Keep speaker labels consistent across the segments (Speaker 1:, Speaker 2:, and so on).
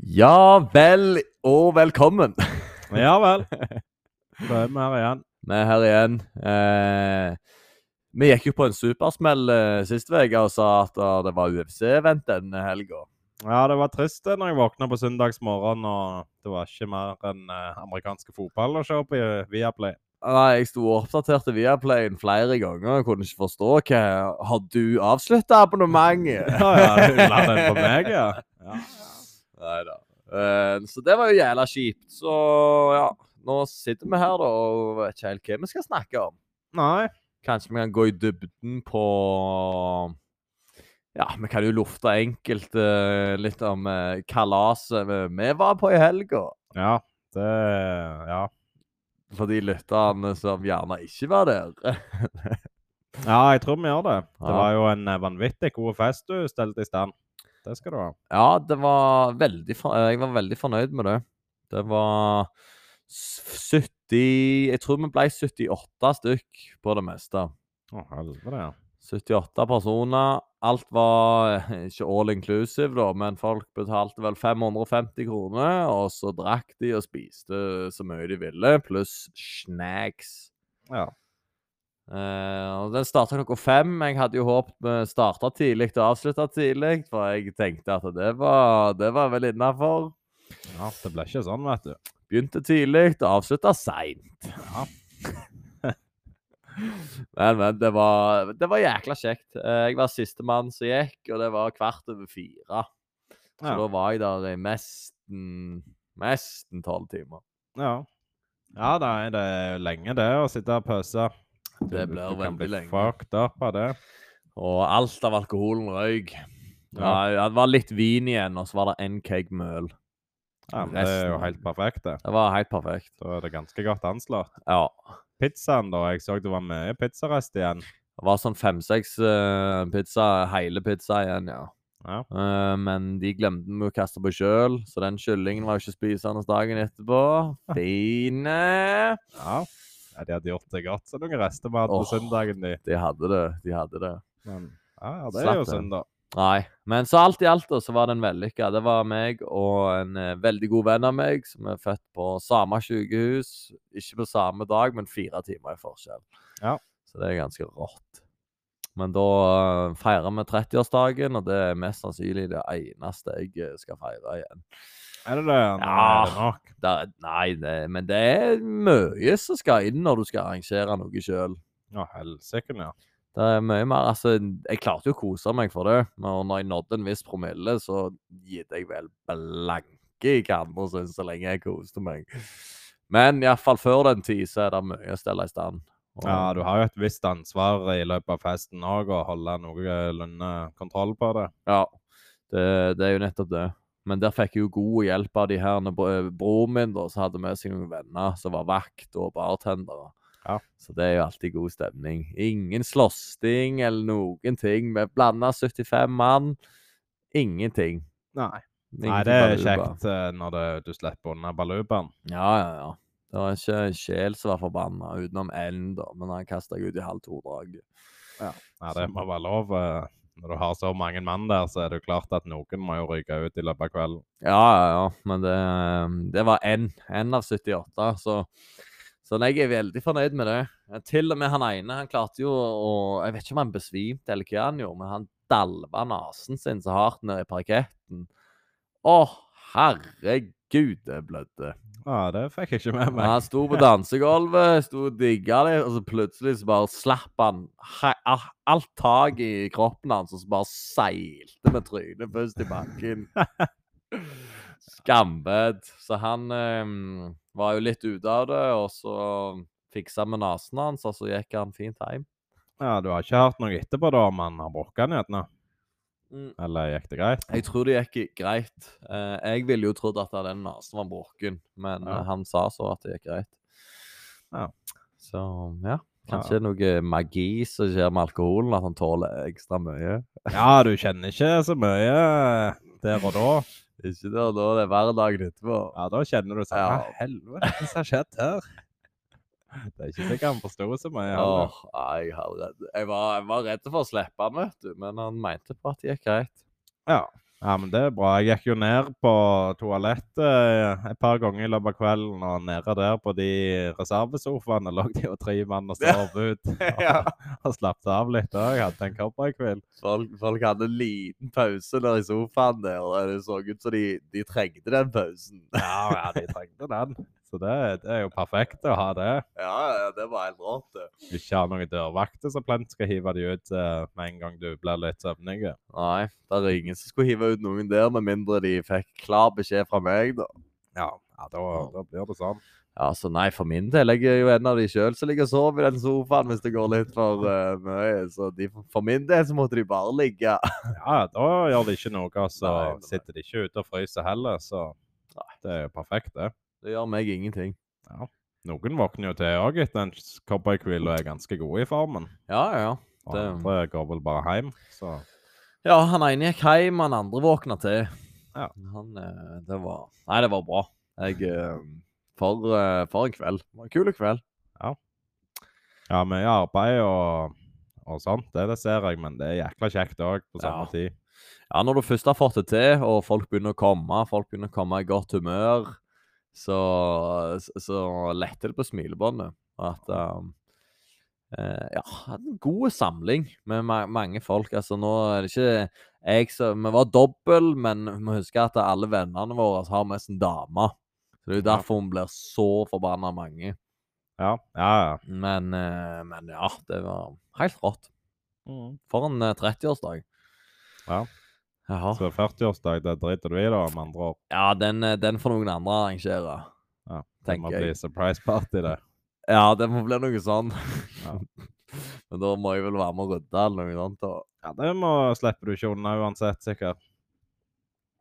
Speaker 1: Ja vel, og velkommen.
Speaker 2: Ja vel. Da er vi her igjen.
Speaker 1: Vi er her igjen. Eh, vi gikk jo på en supersmell eh, sist uke og sa at ah, det var UFC-event denne helga.
Speaker 2: Ja, det var trist det når jeg våkna på søndagsmorgen, og det var ikke mer enn eh, amerikanske fotball å se på i- eh, via Play.
Speaker 1: Nei, Jeg sto og oppdaterte Viaplayen flere ganger og kunne ikke forstå hva Har du avslutta abonnementet?
Speaker 2: Ja, ja, det la den på meg, ja. ja.
Speaker 1: Nei da. Eh, så det var jo jævla kjipt. Så ja, nå sitter vi her da og vet ikke helt hva vi skal snakke om.
Speaker 2: Nei.
Speaker 1: Kanskje vi kan gå i dybden på Ja, vi kan jo lufte enkelt eh, litt om eh, kalaset vi- vi var på i helga.
Speaker 2: Ja, det Ja.
Speaker 1: For de lytterne som gjerne ikke var der.
Speaker 2: Ja, jeg tror vi gjør det. Det
Speaker 1: Ja.
Speaker 2: var jo en eh, vanvittig god fest du stelte i stand. Det skal du ha.
Speaker 1: Ja, det var veldig for- eh, Jeg var veldig fornøyd med det. Det var s- 70 Jeg tror vi ble 78 stykk på det meste.
Speaker 2: Å, helvete, ja.
Speaker 1: 78 personer. Alt var eh, ikke all inclusive, da, men folk betalte vel 550 kroner. Og så drakk de og spiste så mye de ville, pluss snacks.
Speaker 2: Ja.
Speaker 1: Eh, og Den starta klokka fem. Jeg hadde jo håpet vi starta tidlig og avslutta tidlig, for jeg tenkte at det var, det var vel innafor.
Speaker 2: ja. Det ble ikke sånn, vet du.
Speaker 1: Begynte tidlig og avslutta seint.
Speaker 2: Ja.
Speaker 1: Men, men, det var, det var jækla kjekt. Eh, Jeg var sistemann som gikk, og det var kvart over fire. Så
Speaker 2: Ja.
Speaker 1: da var jeg der i nesten Nesten tolv timer.
Speaker 2: Ja, ja nei, det er jo lenge, det, å sitte og pøse. Du-
Speaker 1: Det blir
Speaker 2: du kan
Speaker 1: veldig
Speaker 2: bli
Speaker 1: lenge.
Speaker 2: Fucked up av det.
Speaker 1: Og alt av alkoholen røyk. Ja.
Speaker 2: Ja.
Speaker 1: det var litt vin igjen, og så var det én keg med øl.
Speaker 2: Ja, men det er jo
Speaker 1: Resten-
Speaker 2: helt perfekt, det.
Speaker 1: Det var helt perfekt.
Speaker 2: Da er det ganske godt anslått.
Speaker 1: Ja.
Speaker 2: Pizzaen, da. Jeg så det var mye pizzarest igjen.
Speaker 1: Det var sånn fem-seks eh, pizza, hele pizza igjen, ja.
Speaker 2: Ja.
Speaker 1: Eh, men de glemte vi å kaste på sjøl, så den kyllingen var jo ikke spisende dagen etterpå. Fine!
Speaker 2: ja. ja de hadde gjort det godt, så noen rester vi hadde på
Speaker 1: Åh.
Speaker 2: søndagen, de.
Speaker 1: De hadde det. De hadde det.
Speaker 2: Men ja, ja, det
Speaker 1: Slapp
Speaker 2: er jo
Speaker 1: det.
Speaker 2: søndag.
Speaker 1: Nei. Men så alt i alt da, så var den vellykka. Det var meg og en eh, veldig god venn av meg som er født på samme sykehus. Ikke på samme dag, men fire timer i forskjell.
Speaker 2: Ja.
Speaker 1: Så det er ganske rått. Men da eh, feirer vi 30-årsdagen, og det er mest sannsynlig det eneste jeg eh, skal feire igjen.
Speaker 2: Er det det? Nå
Speaker 1: Ja.
Speaker 2: Er det nok?
Speaker 1: Det er- nei, det, men det er mye som skal inn når du skal arrangere noe sjøl.
Speaker 2: Å, helsike, ja.
Speaker 1: Det er mye mer. Altså, jeg klarte jo å kose meg for det, men når jeg nådde en viss promille, så gitt jeg vel blanke i kanten synes, så lenge jeg koste meg. Men iallfall før den tid, så er det mye å stelle i stand. Og-
Speaker 2: Ja, du har jo et visst ansvar i løpet av festen òg, å holde noenlunde kontroll på det.
Speaker 1: ja det, det er jo nettopp det. Men der fikk jeg jo god hjelp av de her når bro- eh, broren min, da, som hadde med seg noen venner som var vakt og bartendere.
Speaker 2: Ja.
Speaker 1: Så det er jo alltid god stemning. Ingen slåssing eller noen ting. Vi blanda 75 mann. Ingenting.
Speaker 2: Nei. Nei,
Speaker 1: Ingenting
Speaker 2: det er
Speaker 1: baluba.
Speaker 2: kjekt eh, når det, du slipper unna balubaen.
Speaker 1: Ja, ja, ja. Det var ikke en sjel som var forbanna, utenom én, da. Men han kasta jeg ut i halvt hodedrag.
Speaker 2: Nei, det må være lov. eh, Når du har så mange mann der, så er det jo klart at noen må jo ryke ut i løpet av kvelden.
Speaker 1: Ja, ja, ja. Men det, det var én. Én av 78. Så, så jeg er veldig fornøyd med det. Ja, Til og med han ene, han klarte jo å Jeg vet ikke om han besvimte eller hva han gjorde, men han dalva nesen sin så hardt ned i parketten. Å, herregud, det blødde.
Speaker 2: Ja, det fikk jeg ikke med
Speaker 1: Ja,
Speaker 2: meg.
Speaker 1: han sto på dansegulvet, sto og digga det, og så plutselig så bare slapp han he- a- alt tak i kroppen hans, og så bare seilte med trynet først i bakken. Skambedd. Så han eh, var jo litt ute av det, og så fiksa vi nesen hans, og så gikk han fint hjem.
Speaker 2: Ja, Du har ikke hørt noe etterpå da om han har brukket den gjerne?
Speaker 1: Mm.
Speaker 2: Eller gikk det greit?
Speaker 1: Jeg tror det gikk i- greit. Eh, jeg ville jo trodd at den nesen var brukken, men
Speaker 2: Ja.
Speaker 1: eh, han sa så at det gikk greit.
Speaker 2: Ja.
Speaker 1: Så ja. Kanskje noe magi som skjer med alkoholen, at han tåler ekstra mye.
Speaker 2: Ja, du kjenner ikke så mye der og da.
Speaker 1: Ikke det, da det er hverdagen etterpå.
Speaker 2: Ja, da kjenner du sånn
Speaker 1: Ja.
Speaker 2: Hva helvete hva som har skjedd her? Det er ikke sikkert han forsto så mye. heller.
Speaker 1: Åh, nei, jeg, har redd. jeg, var, jeg var redd for å slippe han, vet du, men han mente på at det gikk greit.
Speaker 2: Ja. Ja, men det er bra. Jeg gikk jo ned på toalettet eh, et par ganger i løpet av kvelden, og nede der på de reservesofaene lå det jo tre mann og sov ut. Og,
Speaker 1: Ja.
Speaker 2: og slappet av litt òg. Hadde en cowboykveld.
Speaker 1: Folk, folk hadde en liten pause der i sofaen der, og det så ut som de, de trengte den pausen.
Speaker 2: Ja, ja, de trengte den. Så det, det er jo perfekt å ha det.
Speaker 1: Ja, ja, det var helt rått, det.
Speaker 2: Ikke ha noen dørvakter som plent skal hive de ut eh, med en gang du blir litt søvnig.
Speaker 1: Nei, det er ingen som skulle hive ut noen der, med mindre de fikk klar beskjed fra meg, da.
Speaker 2: Ja, ja da, da blir det sånn.
Speaker 1: Ja, så nei, for min del. Jeg er jo en av de sjøl som ligger og sover i den sofaen hvis det går litt for eh, mye. Så de, for min del så måtte de bare ligge.
Speaker 2: Ja, da gjør det ikke noe. Så
Speaker 1: Nei, nei.
Speaker 2: sitter de ikke ute og fryser heller, så det er jo perfekt, det.
Speaker 1: Det gjør meg ingenting.
Speaker 2: Noen våkner jo til òg etter en s- cowboyquill og er ganske gode i formen.
Speaker 1: Ja, ja.
Speaker 2: Og
Speaker 1: Det-
Speaker 2: andre går vel bare hjem. Så
Speaker 1: Ja, han ene gikk hjem, han andre våkna til.
Speaker 2: Ja.
Speaker 1: Han, eh, det var Nei, det var bra. Jeg eh, For, eh, for en kveld. Det var en kul kveld.
Speaker 2: ja, mye arbeid og, og sånt, det, det ser jeg, men det er jækla kjekt òg på samme
Speaker 1: Ja.
Speaker 2: tid.
Speaker 1: Ja, når du først har fått det til, og folk begynner å komme, folk begynner å komme i godt humør, så, så- så letter det på smilebåndet. At um, eh, Ja, en god samling med ma mange folk. Altså, nå er det ikke jeg som Vi var dobbel, men vi må huske at alle vennene våre har mest en dame. Så Det er jo
Speaker 2: Ja.
Speaker 1: derfor hun blir så forbanna mange.
Speaker 2: Ja, ja. ja.
Speaker 1: Men, eh, men ja, det var helt rått.
Speaker 2: Mm.
Speaker 1: For en eh, 30-årsdag.
Speaker 2: Ja.
Speaker 1: Jaha.
Speaker 2: Så 40-årsdag, det driter du i, da, med andre ord.
Speaker 1: Ja, den, eh, den får noen andre arrangere.
Speaker 2: Ja, Det må
Speaker 1: tenker
Speaker 2: bli
Speaker 1: jeg.
Speaker 2: surprise party, det.
Speaker 1: Ja, det må bli noe sånn.
Speaker 2: Ja.
Speaker 1: Men da må jeg vel være med og rydde eller noe sånt. da.
Speaker 2: Ja, Det må slipper du ikke unna uansett, sikkert.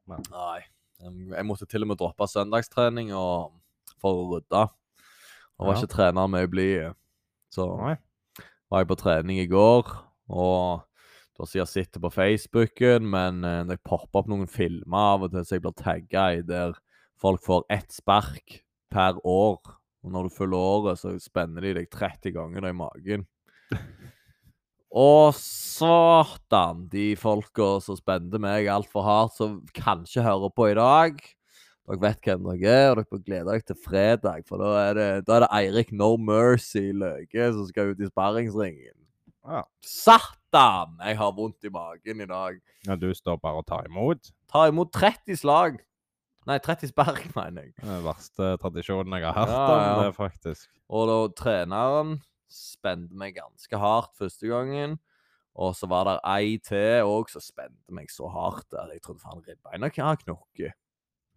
Speaker 1: Nei. Em, Jeg måtte til og med droppe søndagstrening og, for å rydde. Og var
Speaker 2: Ja.
Speaker 1: ikke trener med å bli. Så
Speaker 2: Nei.
Speaker 1: var jeg på trening i går, og da sier jeg sitter på Facebooken, men eh, det popper opp noen filmer av og til, så jeg blir tagga i der folk får ett spark per år. Og når du følger året, så spenner de deg 30 ganger da i magen. Og satan, de folka som spente meg altfor hardt, som kanskje hører på i dag. Dere vet hvem dere er, og dere bør glede dere til fredag. For da er det, da er det Eirik No Mercy Løke som skal ut i sparringsringen.
Speaker 2: Ja.
Speaker 1: Satan! Jeg har vondt i magen i dag.
Speaker 2: Ja, du står bare og tar imot.
Speaker 1: Ta imot 30 slag. Nei, 30 spark, mener jeg.
Speaker 2: Det er Den verste tradisjonen jeg har hørt
Speaker 1: Ja,
Speaker 2: om
Speaker 1: ja.
Speaker 2: det, faktisk.
Speaker 1: Og da treneren spente meg ganske hardt første gangen. Og så var det ei til òg som spente meg så hardt at jeg trodde faen ribbeina kan ha knokket.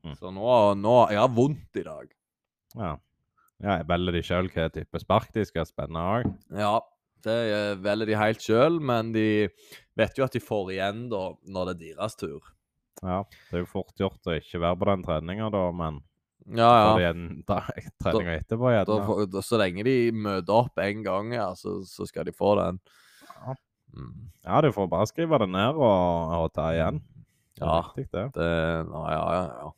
Speaker 2: Mm.
Speaker 1: Så nå, nå Jeg har vondt i dag.
Speaker 2: Ja. ja jeg velger de sjøl hva type spark de skal spenne òg.
Speaker 1: Ja, det eh, velger de helt sjøl, men de vet jo at de får igjen da når det er deres tur.
Speaker 2: Ja, det er jo fort gjort å ikke være på den treninga, da, men
Speaker 1: Ja,
Speaker 2: ta det
Speaker 1: ja.
Speaker 2: igjen da- treninga etterpå gjerne.
Speaker 1: Da, får- da, så lenge de møter opp én gang, ja, så, så skal de få den.
Speaker 2: Ja.
Speaker 1: Mm.
Speaker 2: Ja, du får bare skrive det ned og, og ta igjen. Det er
Speaker 1: Ja.
Speaker 2: viktig, det.
Speaker 1: Det, nei, ja, ja, ja.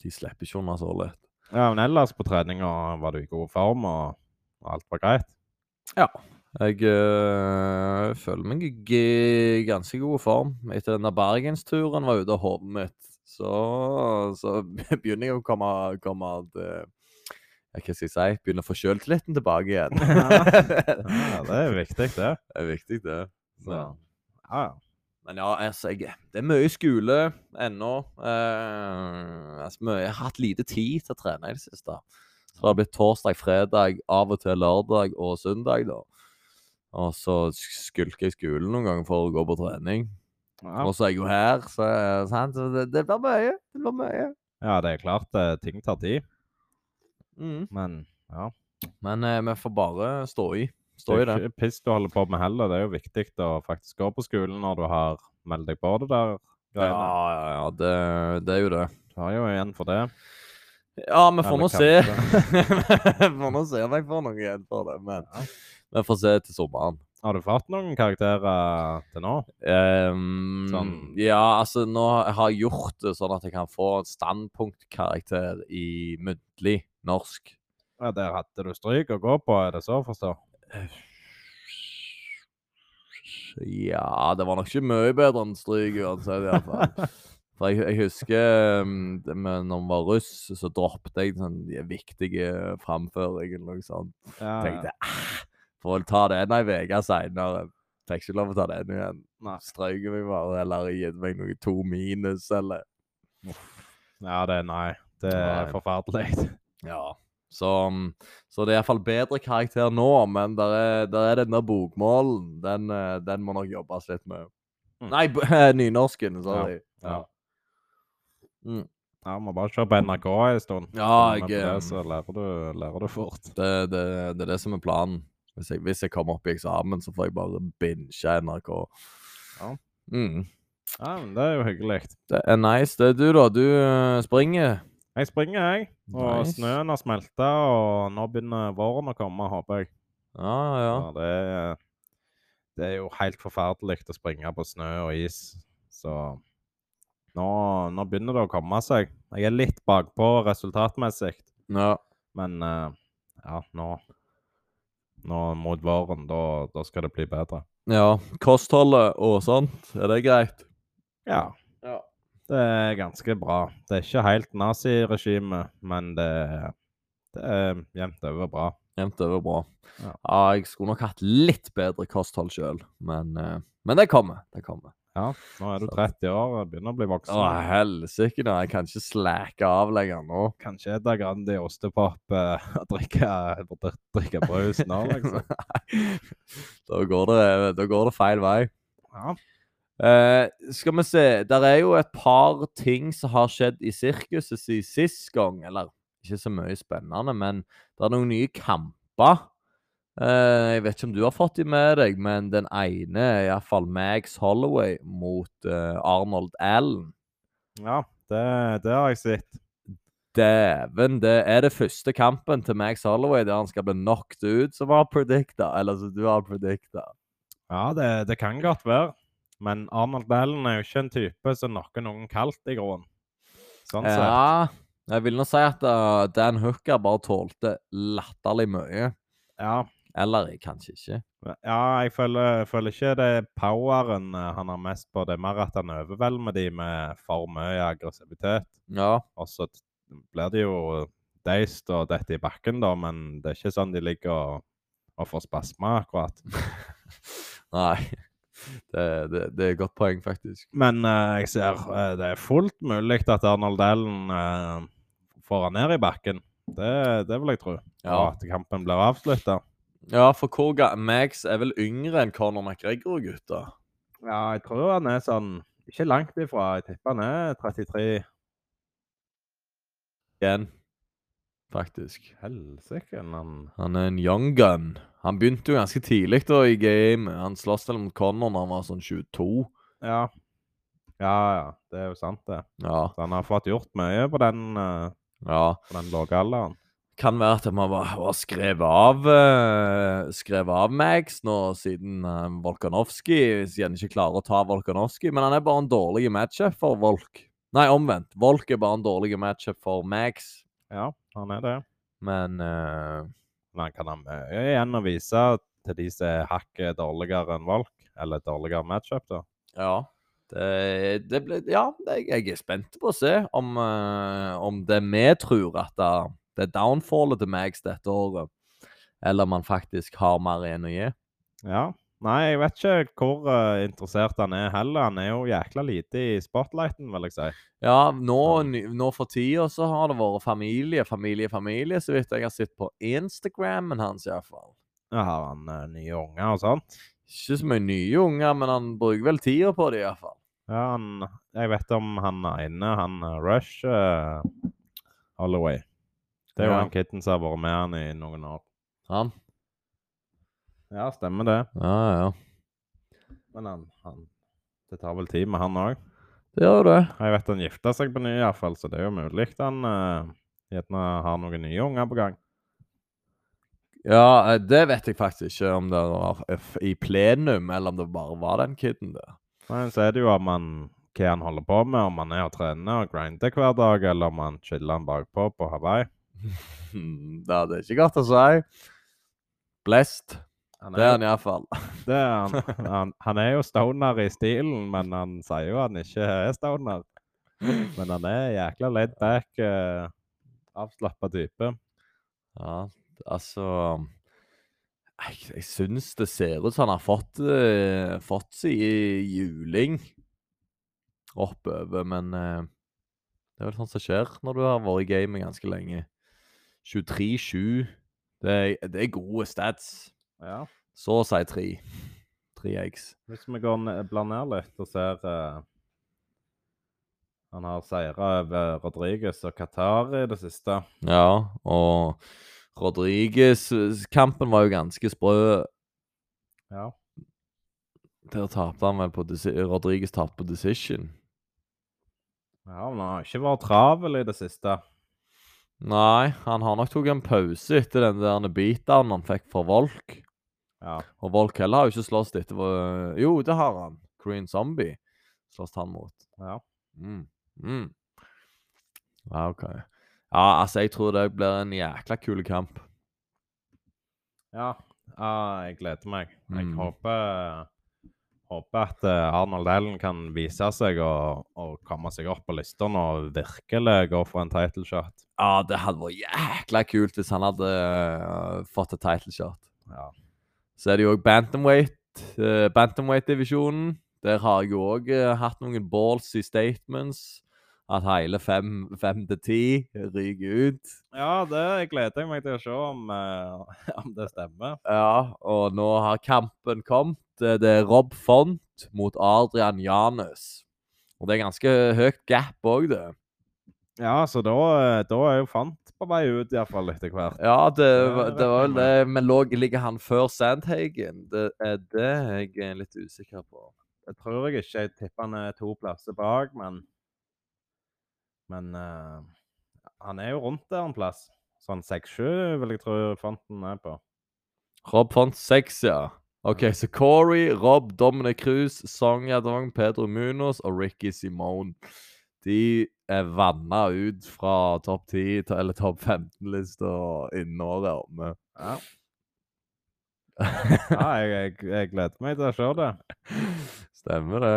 Speaker 1: De slipper ikke unna så lett.
Speaker 2: ja, men ellers på treninga var du i god form, og, og alt var greit.
Speaker 1: Jeg øh, føler meg i g- ganske god form. Etter den der bergensturen var ute av hodet mitt, så, så begynner jeg å komme, komme at øh, ja, Hva skal jeg si? Begynner forkjøltilliten tilbake igjen.
Speaker 2: Ja, det er viktig, det.
Speaker 1: Det er viktig, det. Så.
Speaker 2: Ja. Ja, ja.
Speaker 1: Men ja, altså, jeg, det er mye skole ennå. Eh, altså, mye, jeg har hatt lite tid til å trene i det siste. Så det har blitt torsdag, fredag, av og til lørdag og søndag, da. Og så skulker jeg skolen noen ganger for å gå på trening.
Speaker 2: Ja.
Speaker 1: Og så er jeg jo her, så, sant? så det, det blir mye. Det blir mye.
Speaker 2: ja, det er klart eh, ting tar tid,
Speaker 1: Mm.
Speaker 2: men ja.
Speaker 1: Men eh, vi får bare stå i. Stå i
Speaker 2: det
Speaker 1: det.
Speaker 2: er jo ikke piss du holder på med heller. Det er jo viktig å faktisk gå på skolen når du har meldt deg på det der
Speaker 1: Ja,
Speaker 2: greiene.
Speaker 1: ja, ja. Det, det er jo det.
Speaker 2: Du har jo igjen for det.
Speaker 1: Ja, vi får
Speaker 2: Eller
Speaker 1: nå se.
Speaker 2: kanskje.
Speaker 1: Får nå se om jeg får noe igjen for det, men
Speaker 2: Ja.
Speaker 1: vi får se til sommeren.
Speaker 2: Har du fått noen karakterer til nå?
Speaker 1: Ehm,
Speaker 2: Sånn.
Speaker 1: Ja, altså nå har jeg gjort det sånn at jeg kan få en standpunktkarakter i muntlig norsk.
Speaker 2: Ja, Der hadde du stryk å gå på, er det så å forstå?
Speaker 1: Ja, det var nok ikke mye bedre enn stryk uansett, iallfall. For jeg, jeg husker um, det med, når vi var russ, så droppet jeg sånn de viktige framføringene eller noe sånt.
Speaker 2: Ja,
Speaker 1: Tenkte ah, får vel ta den ei uke seinere. Fikk ikke lov å ta den igjen.
Speaker 2: Nei.
Speaker 1: Strøk meg bare, eller gitt meg noe to minus, eller
Speaker 2: ja, det er nei. Det er
Speaker 1: Nei.
Speaker 2: forferdelig.
Speaker 1: Ja. Så, mm, så det er iallfall bedre karakter nå, men der er, der er den der bokmålen. Den, eh, den må nok jobbes litt med.
Speaker 2: Mm.
Speaker 1: Nei, b eh, nynorsken, sorry.
Speaker 2: ja.
Speaker 1: Mm.
Speaker 2: Ja, Må bare se på NRK en stund.
Speaker 1: Ja, jeg,
Speaker 2: Kommer på
Speaker 1: eh,
Speaker 2: det, så lærer du, lærer du fort.
Speaker 1: Det, det, det er det som er planen. Hvis jeg, hvis jeg kommer opp i eksamen, så får jeg bare binge NRK.
Speaker 2: Ja.
Speaker 1: Mm.
Speaker 2: Ja, men Det er jo hyggelig.
Speaker 1: Det er nice. Det er du, da. Du eh, springer.
Speaker 2: Jeg springer, jeg. Og
Speaker 1: Nice.
Speaker 2: snøen har smelta, og nå begynner våren å komme, håper jeg.
Speaker 1: Ja, ja.
Speaker 2: Ja, det, er- det er jo helt forferdelig å springe på snø og is. Så nå, nå begynner det å komme seg. Jeg er litt bakpå resultatmessig,
Speaker 1: ja.
Speaker 2: men eh, ja, nå Nå mot våren, da, da skal det bli bedre.
Speaker 1: ja. Kostholdet og sånt, er det greit?
Speaker 2: Ja,
Speaker 1: Ja.
Speaker 2: det er ganske bra. Det er ikke helt naziregime, men det, det er jevnt over bra.
Speaker 1: Jevnt over bra.
Speaker 2: Ja.
Speaker 1: Ja. jeg skulle nok hatt litt bedre kosthold sjøl, men, eh, men det kommer. Det kommer.
Speaker 2: Ja, nå er du
Speaker 1: Så-
Speaker 2: 30 år og begynner å bli voksen.
Speaker 1: Å, helsike, da. Jeg kan ikke slacke av lenger nå.
Speaker 2: Kanskje spise Grandi ostepop eh, og drikke, dri- drikke brus nå, liksom.
Speaker 1: da, går det, da går det feil vei.
Speaker 2: Ja.
Speaker 1: Eh, skal vi se Der er jo et par ting som har skjedd i sirkuset siden sist gang. Eller ikke så mye spennende, men det er noen nye kamper. Eh, jeg vet ikke om du har fått de med deg, men den ene er iallfall Max Holloway mot eh, Arnold Allen.
Speaker 2: ja det, det har jeg sett.
Speaker 1: Dæven, det er det første kampen til Max Holloway der han skal bli knocked ut, som var predicta. Eller som du har predicta.
Speaker 2: Ja, det, det kan godt være. Men Arnold Bellen er jo ikke en type som knocker noen kaldt i grunnen. Sånn sett.
Speaker 1: Ja, jeg vil nå si at uh, Dan Hooker bare tålte latterlig mye.
Speaker 2: Ja.
Speaker 1: Eller kanskje ikke.
Speaker 2: ja, jeg føler, føler ikke det er poweren eh, han har mest på. Det er mer at han overvelder de med for mye aggressivitet.
Speaker 1: Ja.
Speaker 2: Og så t- blir de jo deist og dette i bakken, da, men det er ikke sånn de ligger og, og får spasmer, akkurat.
Speaker 1: Nei. Det, det, det er et godt poeng, faktisk.
Speaker 2: Men eh, jeg ser eh, det er fullt mulig at Arnold Allen eh, får han ned i bakken. Det, det vil jeg tro. Og
Speaker 1: Ja,
Speaker 2: at kampen blir avslutta.
Speaker 1: ja for hvor ga Max er vel yngre enn Conor McGregor, gutta?
Speaker 2: Ja, jeg tror han er sånn ikke langt ifra. Jeg tipper han er 33.
Speaker 1: Igjen. Faktisk.
Speaker 2: Helsike, han
Speaker 1: Han er en young gun. Han begynte jo ganske tidlig da i game. Han sloss vel mot Conor når han var sånn 22.
Speaker 2: Ja. Ja, ja. Det er jo sant, det.
Speaker 1: Ja.
Speaker 2: Så han har fått gjort mye på den, eh,
Speaker 1: ja.
Speaker 2: på den lave alderen.
Speaker 1: Kan være at vi bare har skrevet av eh, Skrevet av Max nå siden uh, Volkanovski siden han ikke klarer å ta Volkanovski. Men han er bare en dårlig matchup for Volk. Nei, omvendt. Volk er bare en dårlig matchup for Max.
Speaker 2: Ja, han er det.
Speaker 1: Men eh,
Speaker 2: Men han kan ha mye igjen å vise til de som er hakket dårligere enn Volk. Eller dårligere matchup, da.
Speaker 1: ja. Det, det ble, ja, jeg, jeg er spent på å se om, eh, om det vi tror at det, det er downfallet til Max dette året. Eller om han faktisk har mer igjen å gi.
Speaker 2: Ja. Nei, jeg vet ikke hvor eh, interessert han er heller. Han er jo jækla lite i spotlighten, vil jeg si.
Speaker 1: Ja, nå, ny- nå for tida så har det vært familie, familie, familie, så vidt jeg har sett på Instagrammen hans iallfall.
Speaker 2: Ja, har han eh, nye unger og sånt?
Speaker 1: Ikke så mye nye unger, men han bruker vel tida på det iallfall.
Speaker 2: Ja, han Jeg vet om han ene, han eh, Rush eh, Holloway. Det er jo
Speaker 1: Ja.
Speaker 2: han kiden som har vært med han i noen år.
Speaker 1: Han?
Speaker 2: Ja, stemmer det.
Speaker 1: Ja, ja.
Speaker 2: Men han, han Det tar vel tid med han òg.
Speaker 1: Det gjør det.
Speaker 2: Jeg vet han gifta seg på ny, iallfall, så det er jo mulig han eh, gjerne har noen nye unger på gang.
Speaker 1: Ja, eh, det vet jeg faktisk ikke om det var f- i plenum, eller om det bare var den kiden der.
Speaker 2: Nei, så er det jo om han, hva han holder på med, om han er og trener og grinder hver dag, eller om han chiller han bakpå på Hawaii.
Speaker 1: Hmm, Det hadde ikke godt å si. Blest.
Speaker 2: Han
Speaker 1: Det er
Speaker 2: er,
Speaker 1: han iallfall.
Speaker 2: det er han, han, han er jo stoner i stilen, men han sier jo han ikke er stoner. Men han er jækla laid back, eh, avslappa type.
Speaker 1: Ja, altså Jeg, jeg syns det ser ut som han har fått, eh, fått seg i juling oppover, men eh, det er vel sånt som skjer når du har vært i gamet ganske lenge. 23-7. Det, er- det er gode stats.
Speaker 2: Ja.
Speaker 1: Så å si tre. Tre eggs.
Speaker 2: Hvis vi går ned, blar ned litt og ser eh, Han har seira over Rodriguez og Qatar i det siste.
Speaker 1: Ja, og Rodriguez-kampen var jo ganske sprø.
Speaker 2: Ja.
Speaker 1: Der tapte han vel på desi- Rodriguez tapte på decision.
Speaker 2: ja men han har ikke vært travel i det siste.
Speaker 1: Nei, han har nok tok en pause etter den der beatdownen han fikk fra Volk.
Speaker 2: Ja.
Speaker 1: Og Volk heller har jo ikke slåss etter hva- Jo, det har han. Green Zombie slåss han mot.
Speaker 2: ja.
Speaker 1: Mm. Mm. Ja, OK. Ja, altså, jeg tror det blir en jækla kul kamp.
Speaker 2: Ja, ah, jeg gleder meg. Jeg
Speaker 1: Mm.
Speaker 2: håper, håper at eh, Arnold Allen kan vise seg og, og komme seg opp på listene og virkelig gå for en title shot.
Speaker 1: Ja, det hadde vært jækla kult hvis han hadde øh, fått et title shot.
Speaker 2: Ja.
Speaker 1: Så er det jo òg Bantamweight. eh, Bantamweight-divisjonen. Der har jeg jo òg eh, hatt noen ballsy statements. At hele fem, fem til ti ryker ut.
Speaker 2: ja, det gleder jeg meg til å se om, eh, om det stemmer.
Speaker 1: Ja, og nå har kampen kommet. Eh, Det er Rob Font mot Adrian Janus. Og det er ganske høyt gap òg, det.
Speaker 2: Ja, så da, eh, da er jo Fant på vei ut, iallfall etter hvert.
Speaker 1: Ja, det,
Speaker 2: Ja,
Speaker 1: var-
Speaker 2: det
Speaker 1: det var
Speaker 2: regner
Speaker 1: vel
Speaker 2: jeg
Speaker 1: det. Men lå, ligger han før Sandhagen? Det er det jeg er litt usikker på.
Speaker 2: Det tror jeg ikke. Jeg tipper han er to plasser bak, men Men eh, han er jo rundt der en plass. Sånn 6-7 vil jeg tro Fanten er på.
Speaker 1: Rob Font 6, ja. OK, så Corey, Rob, Dominic Cruz, Sonja Dong, Pedro Munoz og Ricky Simone. De er vanna ut fra topp 10 til- eller topp 15-lista innen året er omme.
Speaker 2: Ja. Ja, jeg, jeg, jeg gleder meg til å se det.
Speaker 1: Stemmer det.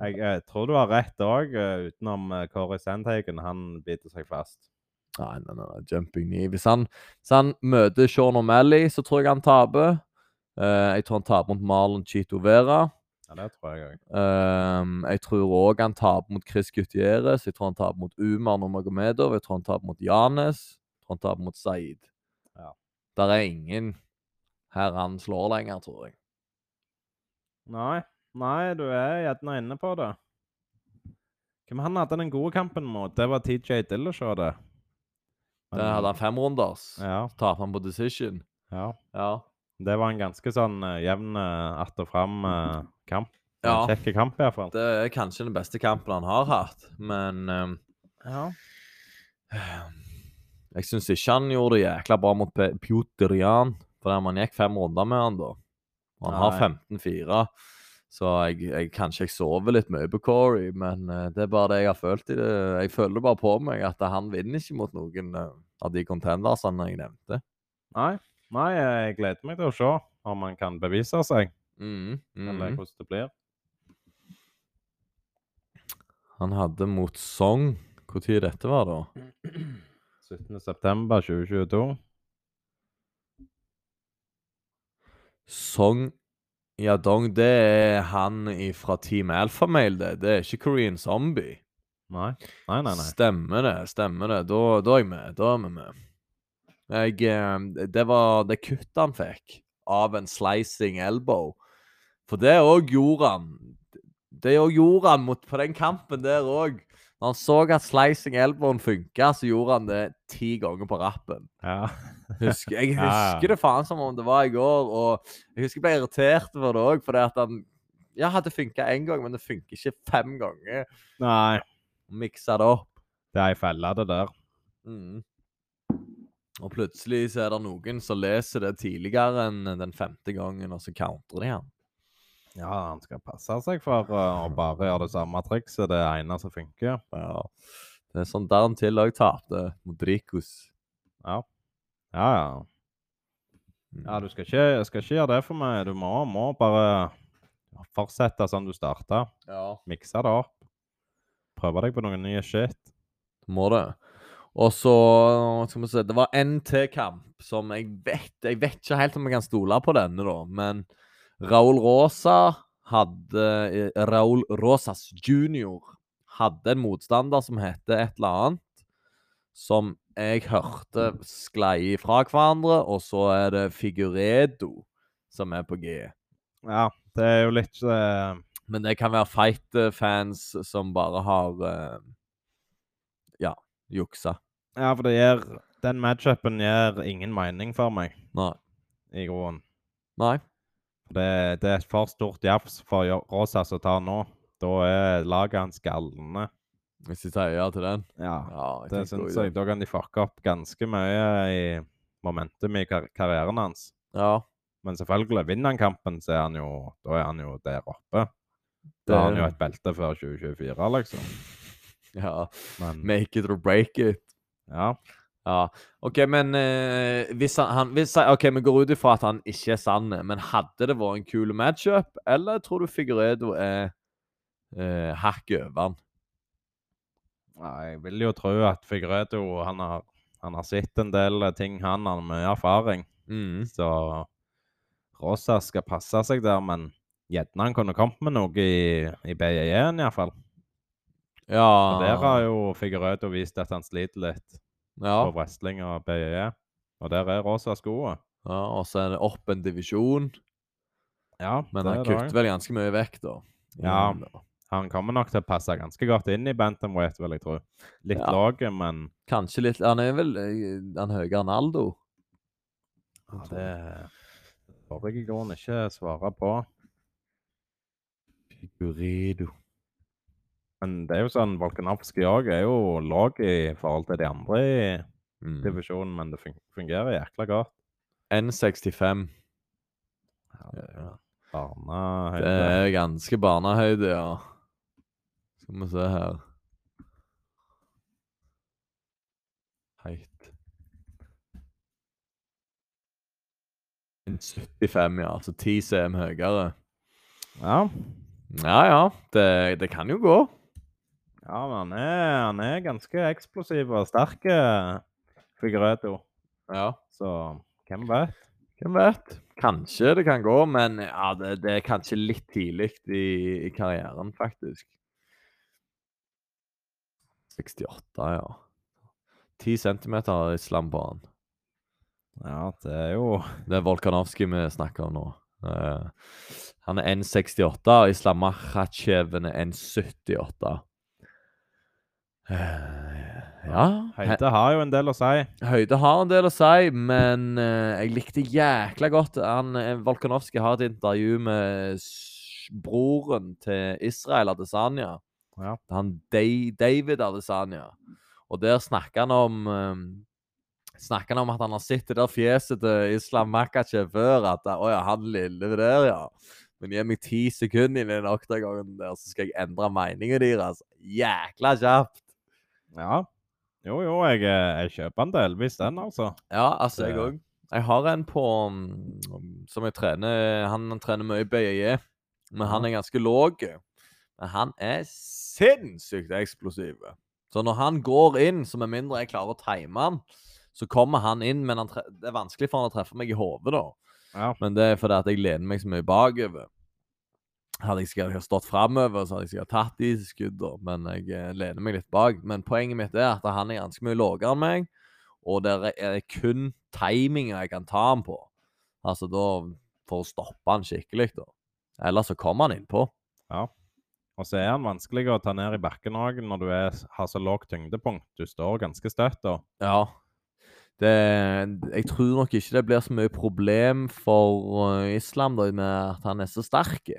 Speaker 2: Jeg, eh, tror du har rett òg, utenom eh, Kåre Sandhagen. Han biter seg fast.
Speaker 1: Nei, nei, nei, nei. Jumping knee. Hvis han, hvis han møter Sean O'Malley, så tror jeg han taper. Eh, jeg tror han taper mot Marlon Chito Vera.
Speaker 2: Ja, det tror jeg òg.
Speaker 1: Ehm, jeg tror òg han taper mot Chris Gutierrez. Jeg tror han taper mot Umar Nomagomedov. Jeg tror han taper mot Janes. Jeg tror han taper mot Zaid.
Speaker 2: Ja.
Speaker 1: Der er ingen her han slår lenger, tror jeg.
Speaker 2: Nei, nei, du er gjerne inne på det. Hvem han hadde den gode kampen mot? Det var TJ Dillashaw, det. Men-
Speaker 1: Der hadde han femrunders.
Speaker 2: Ja,
Speaker 1: Så taper han på decision.
Speaker 2: ja.
Speaker 1: Ja.
Speaker 2: Det var en ganske sånn eh, jevn eh, att og fram-kamp.
Speaker 1: ja.
Speaker 2: En Kjekk kamp, iallfall.
Speaker 1: Det er kanskje den beste kampen han har hatt, men ehm,
Speaker 2: Ja.
Speaker 1: Eh, Jeg syns ikke han gjorde det jækla bra mot Pe- Pjotr Jan. For der man gikk fem runder med han da. Og han har 15-4. Så jeg, jeg kanskje jeg sover litt mye på Corey, men eh, det er bare det jeg har følt i det. Jeg føler det bare på meg at han vinner ikke mot noen eh, av de contendersene jeg nevnte.
Speaker 2: Nei, nei, jeg gleder meg til å se om han kan bevise seg,
Speaker 1: Mhm,
Speaker 2: eller
Speaker 1: mhm.
Speaker 2: hvordan det blir.
Speaker 1: Han hadde mot Song. Når dette var, da?
Speaker 2: 17. september 2022.
Speaker 1: Song Yadong, det er han fra Team Alphamale, det. Det er ikke Korean Zombie.
Speaker 2: Nei, nei, nei. nei.
Speaker 1: Stemmer det, stemmer det. Da, da er jeg med. Da er vi med. Jeg, eh, det var det kuttet han fikk av en slicing elbow. For det òg gjorde han. Det òg gjorde han mot, på den kampen der òg. Når han så at slicing elbowen funka, så gjorde han det ti ganger på rappen.
Speaker 2: Ja.
Speaker 1: Husker, jeg
Speaker 2: Ja, ja.
Speaker 1: husker det faen som om det var i går, og jeg husker jeg ble irritert for det òg, fordi at han ja, hadde funka én gang, men det funker ikke fem ganger.
Speaker 2: Nei,
Speaker 1: Miksa det opp.
Speaker 2: det er ei felle, det der.
Speaker 1: Mm. Og plutselig så er det noen som leser det tidligere enn den femte gangen, og så counter de han.
Speaker 2: Ja, han skal passe seg for uh, å bare gjøre det samme trikset. Det ene som funker.
Speaker 1: Ja. Det er sånn der han til òg tapte, mot Rikus.
Speaker 2: Ja, ja. Ja, du skal ikke, skal ikke gjøre det for meg. Du må, må bare fortsette sånn du starta.
Speaker 1: ja.
Speaker 2: Mikse det opp. prøve deg på noe nye shit.
Speaker 1: Må det. Og så skal vi se, Det var en til kamp som jeg vet Jeg vet ikke helt om jeg kan stole på denne, da. Men Raul Rosa hadde eh, Raul Rosas junior hadde en motstander som heter et eller annet. Som jeg hørte sklei fra hverandre, og så er det Figuredo som er på G.
Speaker 2: Ja, det er jo litt eh,
Speaker 1: Men det kan være fight-fans som bare har eh, Ja, juksa.
Speaker 2: Ja, for det gjør Den matchupen gjør ingen mening for meg,
Speaker 1: Nei.
Speaker 2: i grunnen.
Speaker 1: Nei.
Speaker 2: For Det, det er et for stort jafs for Jo- Rosas å ta nå. Da er laget hans galne.
Speaker 1: Hvis de sier ja til den?
Speaker 2: Ja,
Speaker 1: Ja, jeg
Speaker 2: det sånn
Speaker 1: tenker
Speaker 2: syns
Speaker 1: også
Speaker 2: jeg. Da kan de fucke opp ganske mye i momentum i kar karrieren hans.
Speaker 1: Ja,
Speaker 2: Men selvfølgelig, vinner han kampen, så er han jo, da er han jo der oppe.
Speaker 1: det
Speaker 2: Da har han jo et belte før 2024, liksom.
Speaker 1: Ja.
Speaker 2: Mm. Men
Speaker 1: Make it or break it.
Speaker 2: ja.
Speaker 1: Ja, OK, men eh, hvis han, han hvis, han- OK, vi går ut ifra at han ikke er sann, men hadde det vært en kul matchup, eller tror du Figuredo er eh, hakket over han?
Speaker 2: Ja, Jeg vil jo tro at Figredo han har, han har sett en del eh, ting, han har mye erfaring.
Speaker 1: Mm.
Speaker 2: Så Rosa skal passe seg der, men gjerne han kunne kommet med noe i, i BJJ-en iallfall.
Speaker 1: Ja Ah.
Speaker 2: For der har jo Figuredo vist at han sliter litt på
Speaker 1: Ja,
Speaker 2: wrestling og BJJ. Og der er Rosa skoa.
Speaker 1: ja og så er det opp en divisjon.
Speaker 2: Ja,
Speaker 1: Men
Speaker 2: det
Speaker 1: han
Speaker 2: er det
Speaker 1: kutter
Speaker 2: også.
Speaker 1: vel ganske mye vekk, da.
Speaker 2: Ja.
Speaker 1: Mm, da.
Speaker 2: Han kommer nok til å passe ganske godt inn i Bantamweight, vil jeg tro. Litt
Speaker 1: Ja.
Speaker 2: lav, men
Speaker 1: Kanskje litt Han er vel eh, han høye enn Aldo?
Speaker 2: ja, det får jeg i grunnen ikke svare på.
Speaker 1: Figuredo
Speaker 2: Men det er jo sånn, Volkanovskij òg er jo lav i forhold til de andre i
Speaker 1: mm.
Speaker 2: divisjonen, men det fun- fungerer jækla godt.
Speaker 1: N65. Ja. Det
Speaker 2: Barnehøyde.
Speaker 1: er ganske barnehøyde, ja. Skal vi se her Heit. En 75, ja. Altså 10 cm høyere.
Speaker 2: Ja.
Speaker 1: Ja ja, det, det kan jo gå.
Speaker 2: ja, men han er, han er ganske eksplosiv og sterk, Figureto.
Speaker 1: Ja.
Speaker 2: Så hvem vet?
Speaker 1: Hvem vet? Kanskje det kan gå, men ja, det, det er kanskje litt tidlig i, i karrieren, faktisk. 68, ja. 10 cm islam på han.
Speaker 2: Ja, det er jo
Speaker 1: Det er Volkanovskij vi snakker om nå. Eh, han er 1,68, og Islam Makhacheven er 1,78. Eh, ja he-
Speaker 2: Høyde har jo en del å si.
Speaker 1: Høyde har en del å si, men eh, jeg likte jækla godt han eh, Volkanovskij har et intervju med s- broren til Israel Adesanya.
Speaker 2: Ja.
Speaker 1: Han Da- David Adesanya. Og der snakker han om eh, Snakker han om at han har sett det der fjeset til Islam Makachev før. At eh, 'Å ja, han lille der, ja'. Men gi meg ti sekunder i den oktagongen der, så skal jeg endre meningen deres. Jækla kjapt!
Speaker 2: Ja. Jo, jo, jeg, eh, jeg kjøper han delvis, den, altså.
Speaker 1: Ja, altså, jeg
Speaker 2: Det-
Speaker 1: òg. Jeg har en på mm, som jeg trener Han trener mye BJJ, men han er ganske låg. Men han er sinnssykt eksplosiv. Så når han går inn, så med mindre jeg klarer å time han, så kommer han inn, men han tre det er vanskelig for han å treffe meg i hodet, da.
Speaker 2: Ja.
Speaker 1: Men det er fordi at jeg lener meg så mye bakover. Hadde jeg sikkert stått framover, så hadde jeg sikkert tatt de skuddene, men jeg eh, lener meg litt bak. Men poenget mitt er at han er ganske mye lavere enn meg, og det er- er kun timinga jeg kan ta han på. Altså da For å stoppe han skikkelig, da. Ellers så kommer han innpå.
Speaker 2: Og så er han vanskelig å ta ned i bakken òg når du er, har så lavt tyngdepunkt. Du står ganske støtt da.
Speaker 1: Ja. Det, jeg tror nok ikke det blir så mye problem for eh, islam da, med at han er så sterk.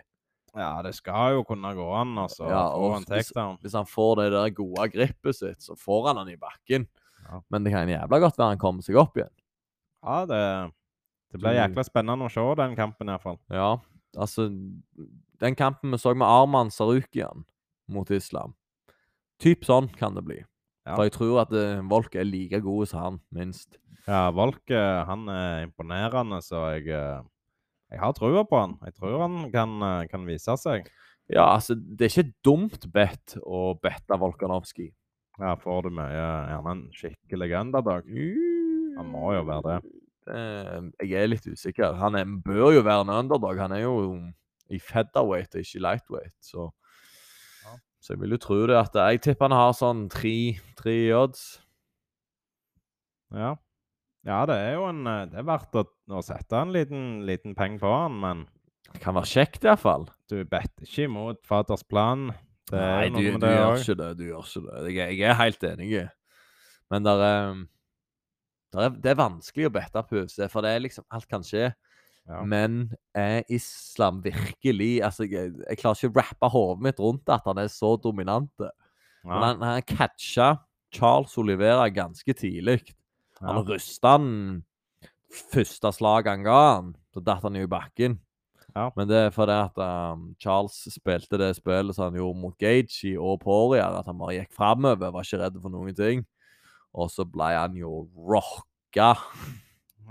Speaker 2: Ja, det skal jo kunne gå an, altså.
Speaker 1: Ja,
Speaker 2: få
Speaker 1: og
Speaker 2: en
Speaker 1: hvis-
Speaker 2: takedown.
Speaker 1: Hvis han får det der gode gripet sitt, så får han han i bakken.
Speaker 2: Ja.
Speaker 1: Men det kan jævla godt være han kommer seg opp igjen.
Speaker 2: Ja, det, det blir
Speaker 1: Så-
Speaker 2: jækla spennende å se den kampen, iallfall.
Speaker 1: Ja, altså Den kampen vi så med Arman Sarukian mot Islam Typ sånn kan det bli.
Speaker 2: Ja.
Speaker 1: For jeg tror at eh, Volk er like god som han, minst.
Speaker 2: Ja, Volk eh, han er imponerende, så jeg, eh, jeg har trua på han. Jeg tror han kan, eh, kan vise seg.
Speaker 1: Ja, altså, det er ikke et dumt bedt å bette Volkanovskij.
Speaker 2: Ja, får du mye Gjerne en skikkelig underdog. Han må jo være det.
Speaker 1: Eh, jeg er litt usikker. Han er, bør jo være en underdog. Han er jo i featherweight og ikke i lightweight, så Så jeg vil jo tro det at Jeg tipper han har sånn tre, tre i odds.
Speaker 2: Ja. ja, det er jo en eh, Det er verdt å, å sette en liten, liten penge på han, men
Speaker 1: Det kan være kjekt, iallfall.
Speaker 2: du bedt ikke imot fadders plan. Det
Speaker 1: Nei,
Speaker 2: er jo
Speaker 1: du,
Speaker 2: noe med
Speaker 1: du
Speaker 2: det
Speaker 1: gjør
Speaker 2: òg.
Speaker 1: ikke det. Du gjør ikke det. Jeg, er- jeg er helt enig. Men der er, der er, det er vanskelig å bette på UFC, for det er liksom Alt kan skje.
Speaker 2: Ja.
Speaker 1: Men er islam virkelig altså, jeg, jeg klarer ikke å rappe hodet mitt rundt at han er så dominant. Men
Speaker 2: Ja,
Speaker 1: han, han catcha Charles Olivera ganske tidlig. Han
Speaker 2: ja.
Speaker 1: rysta han første slaget han ga han. Så datt han jo i bakken.
Speaker 2: Ja.
Speaker 1: Men det er fordi at um, Charles spilte det spillet som han gjorde mot Gaethje og Poirier, at han bare gikk framover, var ikke redd for noen ting. Og så ble han jo rocka.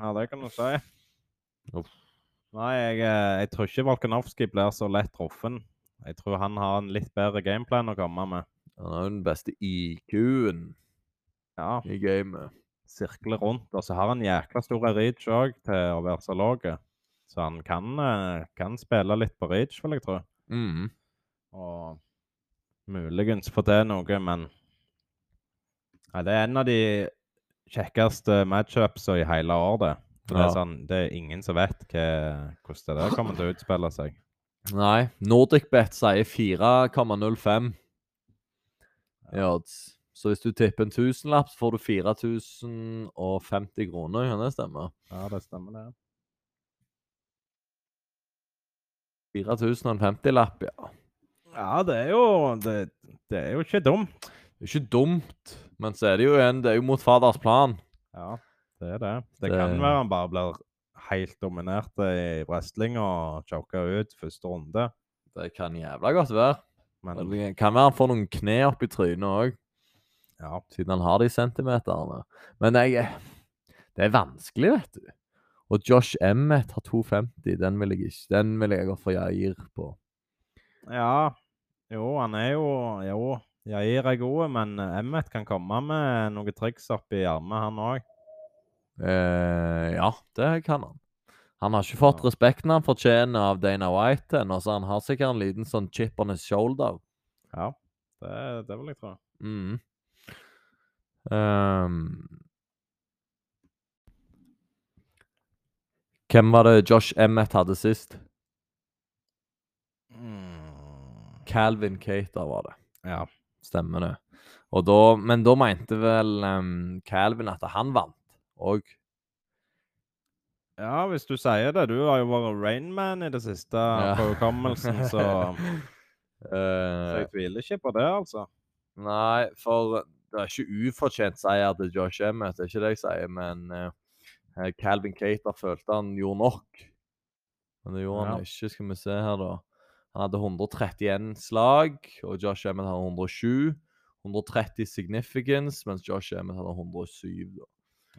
Speaker 2: ja, det kan du si.
Speaker 1: Uff.
Speaker 2: Nei, jeg, eh, jeg tror ikke Volkanovskij blir så lett truffen. Jeg tror han har en litt bedre gameplan å komme med.
Speaker 1: Han er jo den beste IQ-en
Speaker 2: Ja,
Speaker 1: i gamet.
Speaker 2: sirkle rundt. Og så har han jækla stor reach òg til å være så lav. Så han kan, eh, kan spille litt på reach, vil jeg tro.
Speaker 1: Mhm.
Speaker 2: Og muligens få til noe, men ja, Det er en av de kjekkeste matchupsa i hele år, det. For Det,
Speaker 1: Ja.
Speaker 2: er sånn, det er ingen som vet hva, hvordan det der kommer til å utspille seg.
Speaker 1: Nei. NordicBet sier 4,05 i odds. Så hvis du tipper en tusenlapp, så får du 4050 kroner. Kan det stemme?
Speaker 2: Ja, det stemmer, det.
Speaker 1: 4050-lapp, ja.
Speaker 2: Ja, det er jo Det, det er jo ikke dumt.
Speaker 1: Det er ikke dumt, men så er det jo en Det er jo mot faders plan.
Speaker 2: Ja, det er det. Det,
Speaker 1: Det-
Speaker 2: kan være han bare blir helt dominert eh, i wrestling og choker ut første runde.
Speaker 1: Det kan jævla godt være.
Speaker 2: Men
Speaker 1: Det kan være han får noen kne opp i trynet òg.
Speaker 2: ja,
Speaker 1: siden han har de centimeterne. Men jeg Det er vanskelig, vet du. Og Josh Emmett har 2,50. Den vil jeg ikke Den vil jeg gå for Jair på.
Speaker 2: Ja. Jo, han er jo Jo, Jair er god, men Emmet kan komme med noen triks oppi armet, han òg.
Speaker 1: Eh, ja, det kan han. Han har ikke fått respekten han fortjener av Dana White ennå, så han har sikkert en liten sånn chip on his shoulder.
Speaker 2: Ja, det, det vil jeg tro.
Speaker 1: Mm. Ehm. hvem var det Josh Emmett hadde sist?
Speaker 2: Mm.
Speaker 1: Calvin Cater var det.
Speaker 2: Ja.
Speaker 1: Stemmer det. Og da, men da mente vel em, Calvin at han vant òg.
Speaker 2: ja, hvis du sier det. Du har jo vært Rainman i det siste på hukommelsen, så,
Speaker 1: Eh,
Speaker 2: så jeg tviler ikke på det, altså.
Speaker 1: Nei, for det er ikke ufortjent seier til Josh Emmett, det er ikke det jeg sier, men eh, eh, Calvin Cater følte han gjorde nok. Men det gjorde
Speaker 2: Ja.
Speaker 1: han ikke. Skal vi se her, da. Han hadde 131 slag, og Josh Emmett hadde 107. 130 significance, mens Josh Emmett hadde 107. Da.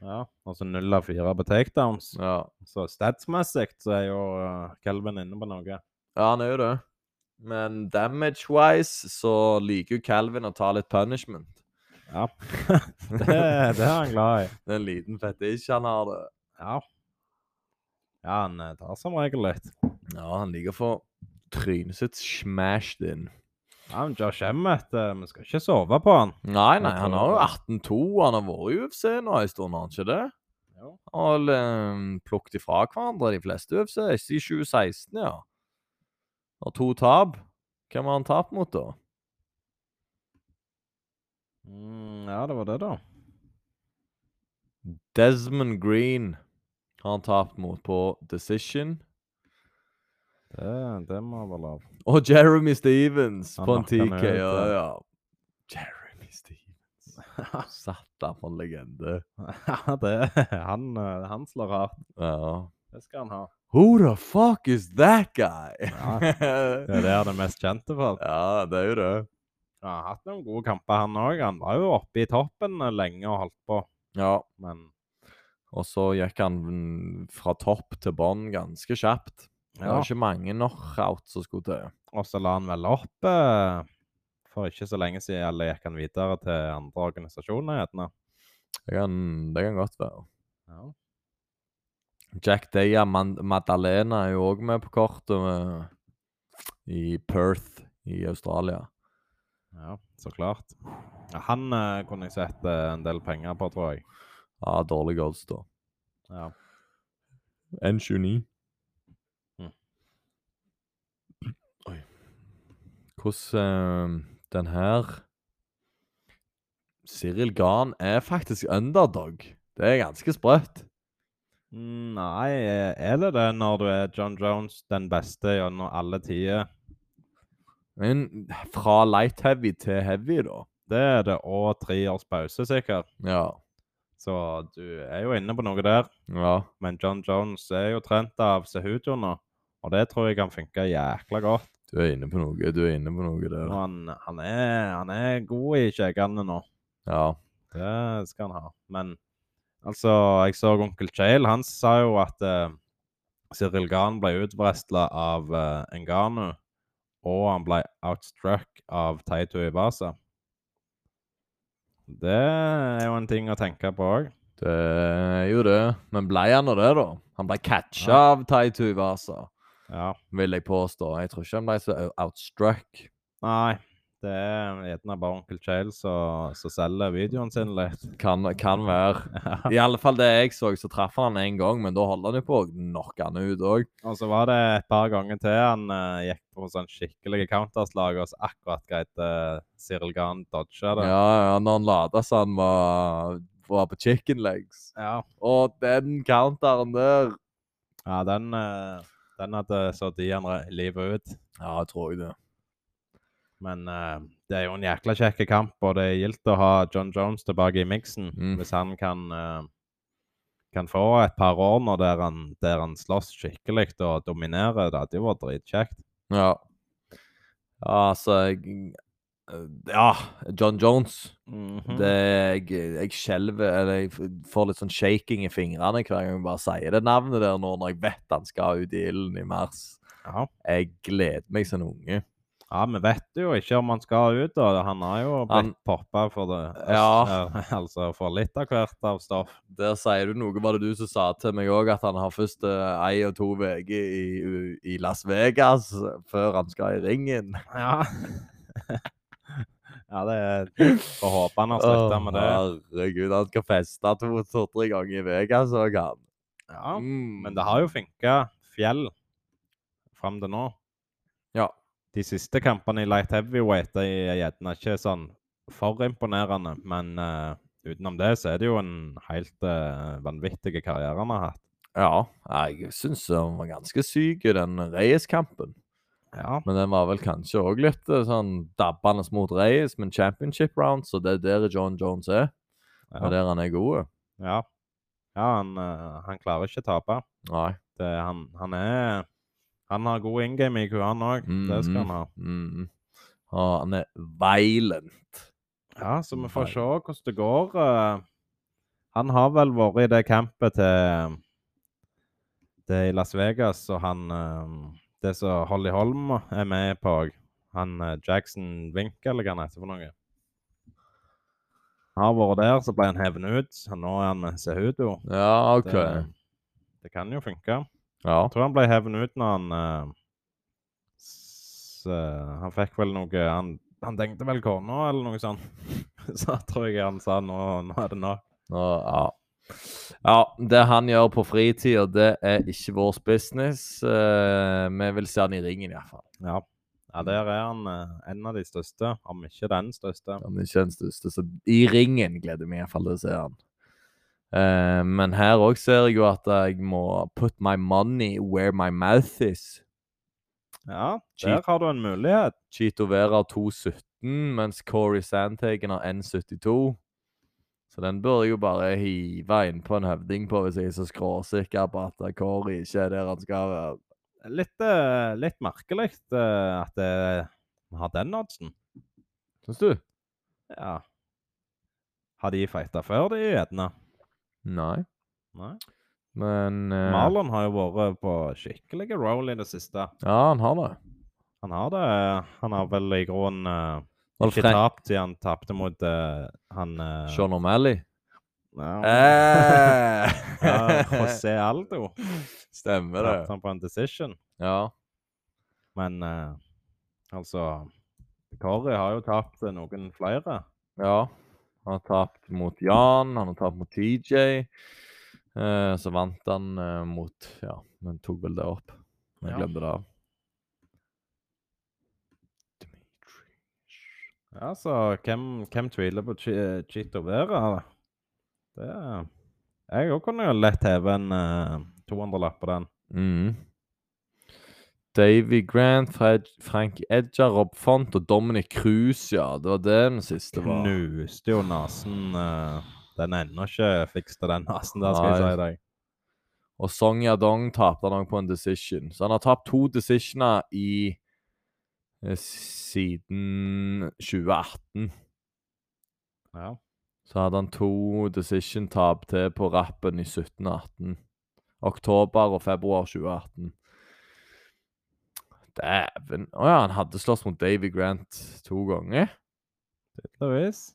Speaker 2: Ja, Altså null av fire på takedowns.
Speaker 1: Ja.
Speaker 2: Så statsmessig så er jo eh, Calvin inne på noe.
Speaker 1: Ja, han er jo det. Men damage-wise så liker jo Calvin å ta litt punishment.
Speaker 2: Ja. det, det er han glad i.
Speaker 1: Det er en liten fetisj han har, det.
Speaker 2: Ja. Ja, han eh, tar som regel litt.
Speaker 1: Ja, han liker å få trynet sitt smashed in.
Speaker 2: Ja, men Josh Emmett, eh, vi skal ikke sove på han.
Speaker 1: Nei,
Speaker 2: Jeg
Speaker 1: nei, han
Speaker 2: tror
Speaker 1: har jo
Speaker 2: det.
Speaker 1: 18-2. Han har vært i UFC nå en stund, har han ikke det?
Speaker 2: Jo.
Speaker 1: Og um, plukket ifra hverandre de fleste UFC. I 2016, ja. Og to tap. Hvem har han tapt mot, da?
Speaker 2: Mm, ja, det var det, da.
Speaker 1: Desmond Green har han tapt mot på Decision.
Speaker 2: Det, det må være lov.
Speaker 1: Og Jeremy Stevens
Speaker 2: Han
Speaker 1: på en
Speaker 2: knocka han
Speaker 1: TK. Ja,
Speaker 2: ut,
Speaker 1: ja. Jeremy Stevens. Satan, for en legende.
Speaker 2: Ja, det, han, eh, han slår hardt.
Speaker 1: Ja.
Speaker 2: Det skal han ha.
Speaker 1: Who the fuck is that guy?
Speaker 2: Ja, Det
Speaker 1: ja,
Speaker 2: er det han er mest kjent for.
Speaker 1: det er jo det.
Speaker 2: Ja, han har hatt noen gode kamper, han òg. Han var jo oppe i toppen eh, lenge og holdt på,
Speaker 1: Ja.
Speaker 2: men
Speaker 1: Og så gikk han mm, fra topp til bånn ganske kjapt. Det var ikke mange knockout som skulle til.
Speaker 2: Og så la han vel opp eh, for ikke så lenge siden, eller gikk han videre til andre organisasjoner, gjerne.
Speaker 1: Det kan, det kan godt være.
Speaker 2: Ja.
Speaker 1: Jack Daya Man Madalena er jo òg med på kortet med, i Perth i Australia.
Speaker 2: ja, så klart. Ja, han eh, kunne jeg sett eh, en del penger på, tror jeg.
Speaker 1: Ja, dårlige odds, da.
Speaker 2: Ja.
Speaker 1: N29.
Speaker 2: Mm.
Speaker 1: Oi. Hvordan eh, den her Cyril Garn er faktisk underdog. Det er ganske sprøtt.
Speaker 2: Mm, Nei, er det det når du er John Jones den beste gjennom alle tider?
Speaker 1: Men fra light heavy til heavy, da.
Speaker 2: Det er det, og tre års pause, sikkert.
Speaker 1: Ja.
Speaker 2: Så du er jo inne på noe der.
Speaker 1: ja.
Speaker 2: Men John Jones er jo trent av Sehudio nå, og det tror jeg kan funke jækla godt.
Speaker 1: Du er inne på noe. Du er inne på noe
Speaker 2: Og
Speaker 1: der.
Speaker 2: Han, han, er, han er god i kjegene nå.
Speaker 1: Ja.
Speaker 2: Det skal han ha. Men altså, jeg så onkel Chale, han sa jo at eh, Cyril Garn ble utvresla av uh, Engano, og han ble outstruck av Taito Ibasa. Det er jo en ting å tenke på òg.
Speaker 1: Det er jo det. Men ble han nå det, da? Han ble catcha
Speaker 2: Ja.
Speaker 1: av Taitu Vasa,
Speaker 2: Ja.
Speaker 1: vil jeg påstå. Jeg tror ikke han ble så outstruck.
Speaker 2: Nei, det er gjerne bare onkel Chale som som selger videoen sin litt.
Speaker 1: Kan, kan være.
Speaker 2: Ja.
Speaker 1: I alle fall det jeg så, så traff han han en gang, men da holdt han jo på å knocke han ut òg.
Speaker 2: Og så var det et par ganger til han eh, gikk på sånn skikkelig counterslag, og så akkurat greit eh, Cyril Garn dodga det.
Speaker 1: Ja, ja, når han lada så han var, var på chicken legs.
Speaker 2: Ja,
Speaker 1: Og den counteren der
Speaker 2: ja den, eh, den hadde så de andre livet ut.
Speaker 1: Ja, jeg tror jeg det.
Speaker 2: Men eh, det er jo en jækla kjekk kamp, og det er gildt å ha John Jones tilbake i miksen.
Speaker 1: Mm.
Speaker 2: Hvis han kan, eh, kan få et par år nå der han, der han slåss skikkelig og dominerer, det hadde jo vært dritkjekt.
Speaker 1: Ja. Ja, altså jeg, Ja, John Jones. Det, jeg, jeg skjelver, eller jeg f- får litt sånn shaking i fingrene hver gang jeg bare sier det navnet der nå, når jeg vet han skal ut i ilden i mars.
Speaker 2: Ja.
Speaker 1: Jeg gleder meg som en unge.
Speaker 2: ja, vi vet jo ikke om han skal ut, og han har jo
Speaker 1: Han-
Speaker 2: blitt poppa for det.
Speaker 1: Ja.
Speaker 2: eh, altså for litt av hvert av stoff.
Speaker 1: Der sier du noe, var det du som sa til meg òg, at han har først eh, ei og to uker i, i Las Vegas før han skal i ringen.
Speaker 2: Ja. ja, det er Får håpe han har slutta med det.
Speaker 1: Å, Herregud, han skal feste to-tre ganger i Vegas òg, han.
Speaker 2: Ja.
Speaker 1: Mm.
Speaker 2: Men det har jo funka fjell fram til nå.
Speaker 1: Ja.
Speaker 2: De siste kampene i light heavyweight de er gjerne ikke sånn for imponerende, men eh, utenom det så er det jo en helt eh, vanvittig karriere han har hatt.
Speaker 1: Ja, jeg syns han var ganske syk i den Reyes-kampen.
Speaker 2: Ja.
Speaker 1: Men den var vel kanskje òg litt eh, sånn dabbende mot Reyes, men championship round, så det er der John Jones er.
Speaker 2: Ja.
Speaker 1: Og der han er god.
Speaker 2: Ja, ja han, eh, han klarer ikke å tape.
Speaker 1: Nei.
Speaker 2: Det, han, han er Han har god in game IQ, han òg. Det skal han ha.
Speaker 1: Mm. Og han er violent.
Speaker 2: Ja, så vi får
Speaker 1: Nei.
Speaker 2: se hvordan det går. eh. Han har vel vært i det campet til eh, Det er i Las Vegas, og han eh, Det som Holly Holm er med på òg. Han eh, Jackson Winkel, eller hva han heter for noe. Han har vært der, så ble han hevnet ut. og Nå er han med Sehudo.
Speaker 1: Ja, OK.
Speaker 2: Det, eh, det kan jo funke.
Speaker 1: Ja.
Speaker 2: Jeg tror han ble hevnet ut når han eh, s, eh, Han fikk vel noe Han, han tenkte vel kona, eller noe sånt. Så tror jeg han sa nå, nå er det nok.
Speaker 1: Nå, ja. ja. Det han gjør på fritida, det er ikke vår business. Eh, vi vil se han i ringen, iallfall.
Speaker 2: Ja. ja, der er han eh, en av de største, om ikke den største.
Speaker 1: Han er ikke den største, så i ringen gleder jeg meg iallfall til å se han. Eh, men her òg ser jeg jo at jeg må put my money where my mouth is.
Speaker 2: Ja, der
Speaker 1: Cheat.
Speaker 2: har du en mulighet.
Speaker 1: Chito Vera har 2,17, mens Corey Sandhagen har 1,72. Så den burde jeg jo bare hive innpå en høvding på hvis jeg er så skråsikker på at Corey ikke er der han skal være.
Speaker 2: Litt, eh, litt merkelig eh, at det- vi har den oddsen.
Speaker 1: Syns du?
Speaker 2: Ja. Har de fighta før, de gjerne?
Speaker 1: Nei.
Speaker 2: Nei.
Speaker 1: Men eh,
Speaker 2: Marlon har jo vært på skikkelig roll i det siste.
Speaker 1: Ja, han har det.
Speaker 2: Han har det. Han har vel i grunnen eh,
Speaker 1: Var det
Speaker 2: ikke
Speaker 1: Frank
Speaker 2: tapt siden han tapte mot eh, han eh,
Speaker 1: Sean O'Malley?
Speaker 2: ja, ja,
Speaker 1: Eh.
Speaker 2: José Aldo.
Speaker 1: Stemmer
Speaker 2: Tapte
Speaker 1: det.
Speaker 2: han på en decision.
Speaker 1: Ja.
Speaker 2: Men eh, altså Kari har jo tapt til noen flere.
Speaker 1: ja. Han har tapt mot Jan, han har tapt mot TJ. Eh, så vant han eh, mot Ja, men tok vel det opp. Men jeg
Speaker 2: Ja.
Speaker 1: glemte det av. Dimitri.
Speaker 2: Ja, så hvem, hvem tviler på Chi- eh, Chito Vera? da? Det er- Jeg òg kunne jo lett heve en eh, 200-lapp på den.
Speaker 1: Mm. Davy Grant, Fred, Frank Edja, Rob Font og Dominic Cruz, ja. Det var det den siste var.
Speaker 2: Knuste jo nesen eh, Den er ennå ikke fikst til den nesen der, skal jeg
Speaker 1: Nei.
Speaker 2: si deg.
Speaker 1: Og Song Yadong tapte han òg på en decision. Så han har tapt to decisioner i eh, siden 2018.
Speaker 2: Ja.
Speaker 1: Så hadde han to decision-tap til på rappen i 17 og 18. Oktober og februar 2018. Dæven. Å ja, han hadde slåss mot Davy Grant to ganger.
Speaker 2: Tydeligvis.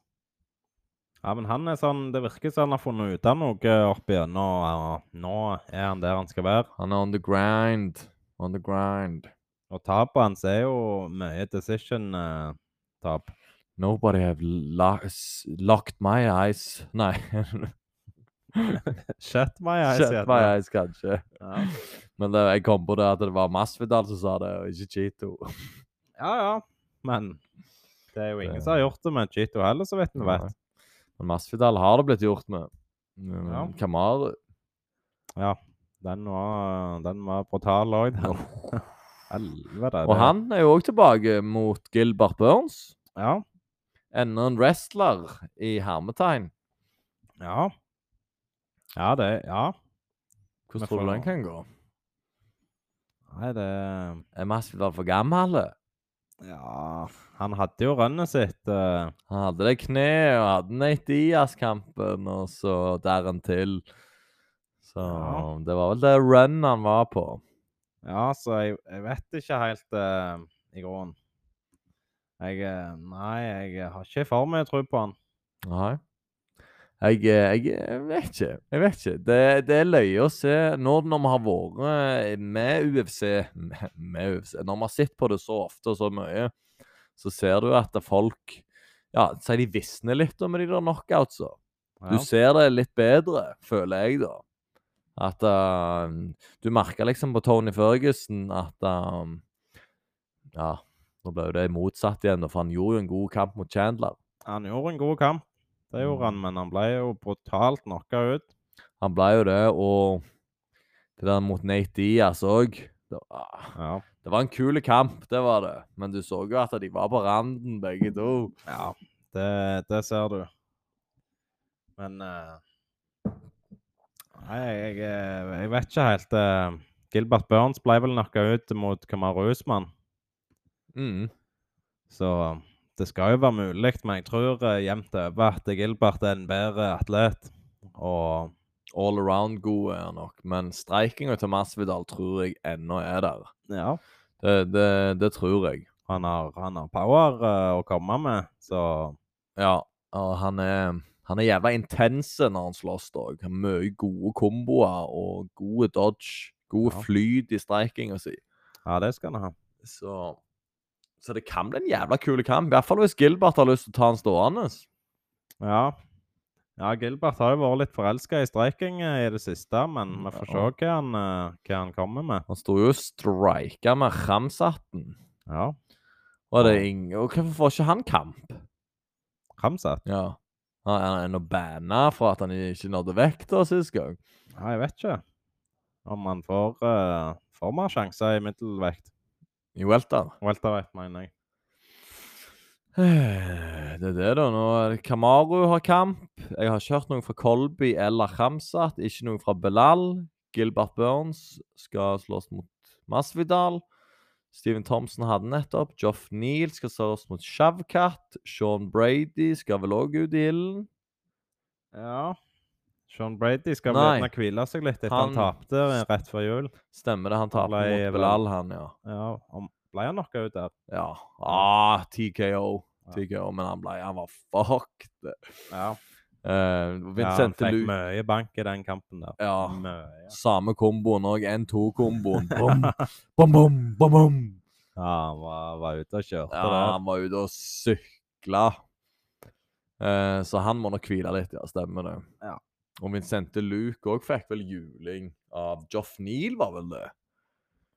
Speaker 2: Ja, men han er sånn, Det virker som han har funnet ut av noe opp igjennom. ja. Nå er han der han skal være.
Speaker 1: Han er on the grind. On the grind.
Speaker 2: Og tapet hans er jo mye eh, decision-tap.
Speaker 1: Nobody have lo s- locked my eyes Nei.
Speaker 2: Shut my eyes.
Speaker 1: Shut
Speaker 2: heter
Speaker 1: my
Speaker 2: det.
Speaker 1: eyes, kanskje.
Speaker 2: Ja.
Speaker 1: Men det, jeg kom på det at det var Masvidal som sa det, og ikke Chito.
Speaker 2: ja, ja. Men det er jo ingen
Speaker 1: Det-
Speaker 2: som har gjort det med Chito heller, så vidt vi vet.
Speaker 1: Men Masvidal har det blitt gjort med. Men
Speaker 2: Ja.
Speaker 1: Kamaru
Speaker 2: Ja. Den var, den var brutal òg, den. Helvete.
Speaker 1: Og
Speaker 2: det-
Speaker 1: han er jo òg tilbake mot Gilbert Burns.
Speaker 2: Ja.
Speaker 1: Enda en wrestler i hermetegn.
Speaker 2: Ja. Ja, det Ja.
Speaker 1: Hvordan
Speaker 2: Men
Speaker 1: tror du
Speaker 2: for-
Speaker 1: den kan gå?
Speaker 2: Nei, det
Speaker 1: Er Masvidal for gammel?
Speaker 2: Ja. Han hadde jo runnet sitt. eh,
Speaker 1: Han hadde det kneet og hadde Nate Diaz-kampen, og så der en til. Så
Speaker 2: Ja.
Speaker 1: det var vel det run han var på.
Speaker 2: Ja, så jeg, jeg vet ikke helt eh, i grunnen. Jeg eh, Nei, jeg har ikke for mye tro på han.
Speaker 1: Nei. Jeg, eh, jeg, jeg vet ikke. Jeg vet ikke. Det, det er løye å se når, når vi har vært eh, med UFC med, med UFC Når vi har sett på det så ofte og så mye, så ser du at folk ja, så de visner litt om de der knockoutsa.
Speaker 2: Ja.
Speaker 1: Du ser det litt bedre, føler jeg, da. At um, Du merker liksom på Tony Ferguson at um, Ja, nå ble jo det motsatt igjen, da, for han gjorde jo en god kamp mot Chandler.
Speaker 2: Han gjorde en god kamp, det gjorde han, men han ble jo brutalt knocka ut.
Speaker 1: Han ble jo det, og det der mot Nate Diaz òg det, var- ah,
Speaker 2: Ja.
Speaker 1: det var en kul kamp, det var det. Men du så jo at de var på randen, begge to.
Speaker 2: ja det, det ser du. Men eh, Nei, jeg, eh, jeg vet ikke helt. eh, Gilbert Burns ble vel knocka ut mot Kamaru Usman,
Speaker 1: Mm.
Speaker 2: så um, det skal jo være mulig, men jeg tror eh, jevnt over at Gilbert er en bedre atlet. Og
Speaker 1: All around god er han nok, men streikinga til Masvidal tror jeg ennå er der.
Speaker 2: Ja.
Speaker 1: Det, det, det tror jeg.
Speaker 2: Han har, han har power eh, å komme med, så
Speaker 1: Ja, og han er han er jævla intense når han slåss. dog. Han har Mye gode komboer og gode dodge. God
Speaker 2: Ja.
Speaker 1: flyt i streikinga si.
Speaker 2: ja, det skal han ha.
Speaker 1: Så, så det kan bli en jævla kul kamp. I hvert fall hvis Gilbert har lyst til å ta han stående.
Speaker 2: Ja. ja, Gilbert har jo vært litt forelska i striking eh, i det siste, men vi får se
Speaker 1: Ja.
Speaker 2: hva han, eh, hva han kommer med.
Speaker 1: Han sto jo og strika med Ramsatten.
Speaker 2: Ja.
Speaker 1: Og, det er ing- og hvorfor får ikke han kamp?
Speaker 2: Ramsat?
Speaker 1: Ja. Han er ennå banna for at han ikke nådde vekta sist gang.
Speaker 2: Ja, jeg vet ikke om han får, eh, får mer sjanser i middelvekt.
Speaker 1: I welter.
Speaker 2: Weltervekt, mener jeg.
Speaker 1: Det er det, da. Nå er det Kamaru har kamp. Jeg har ikke hørt noe fra Kolby eller Ramsat. Ikke noe fra Belal. Gilbert Burns skal slåss mot Masvidal. Steven Thompson hadde nettopp. Joff Neal skal slåss mot Shavkat. Sean Brady skal vel òg ut i ilden.
Speaker 2: Ja. Sean Brady skal
Speaker 1: Nei.
Speaker 2: vel gjerne hvile seg litt etter han,
Speaker 1: Han-
Speaker 2: tapte eh, rett før jul.
Speaker 1: Stemmer det, han
Speaker 2: Han
Speaker 1: tapte
Speaker 2: ble
Speaker 1: mot
Speaker 2: vel-
Speaker 1: Belal, han, ja.
Speaker 2: Ja, om, ble han knocka ut der?
Speaker 1: Ja. Ah, TKO.
Speaker 2: Ja.
Speaker 1: TKO, men han ble Han var fucked.
Speaker 2: Ja.
Speaker 1: Eh,
Speaker 2: ja han
Speaker 1: Vincent ja,
Speaker 2: fikk mye bank i den kampen der.
Speaker 1: Ja.
Speaker 2: Mye.
Speaker 1: Samme komboen òg. N2-komboen. Bom, bom, bom, bom, bom.
Speaker 2: Ja, han var, var ute og kjørte
Speaker 1: Ja, han var ute og sykla. Eh, så han må nok hvile litt, ja. Stemmer det.
Speaker 2: Ja.
Speaker 1: Og Vincente Luke òg fikk vel juling av Joff Neal, var vel det?
Speaker 2: der.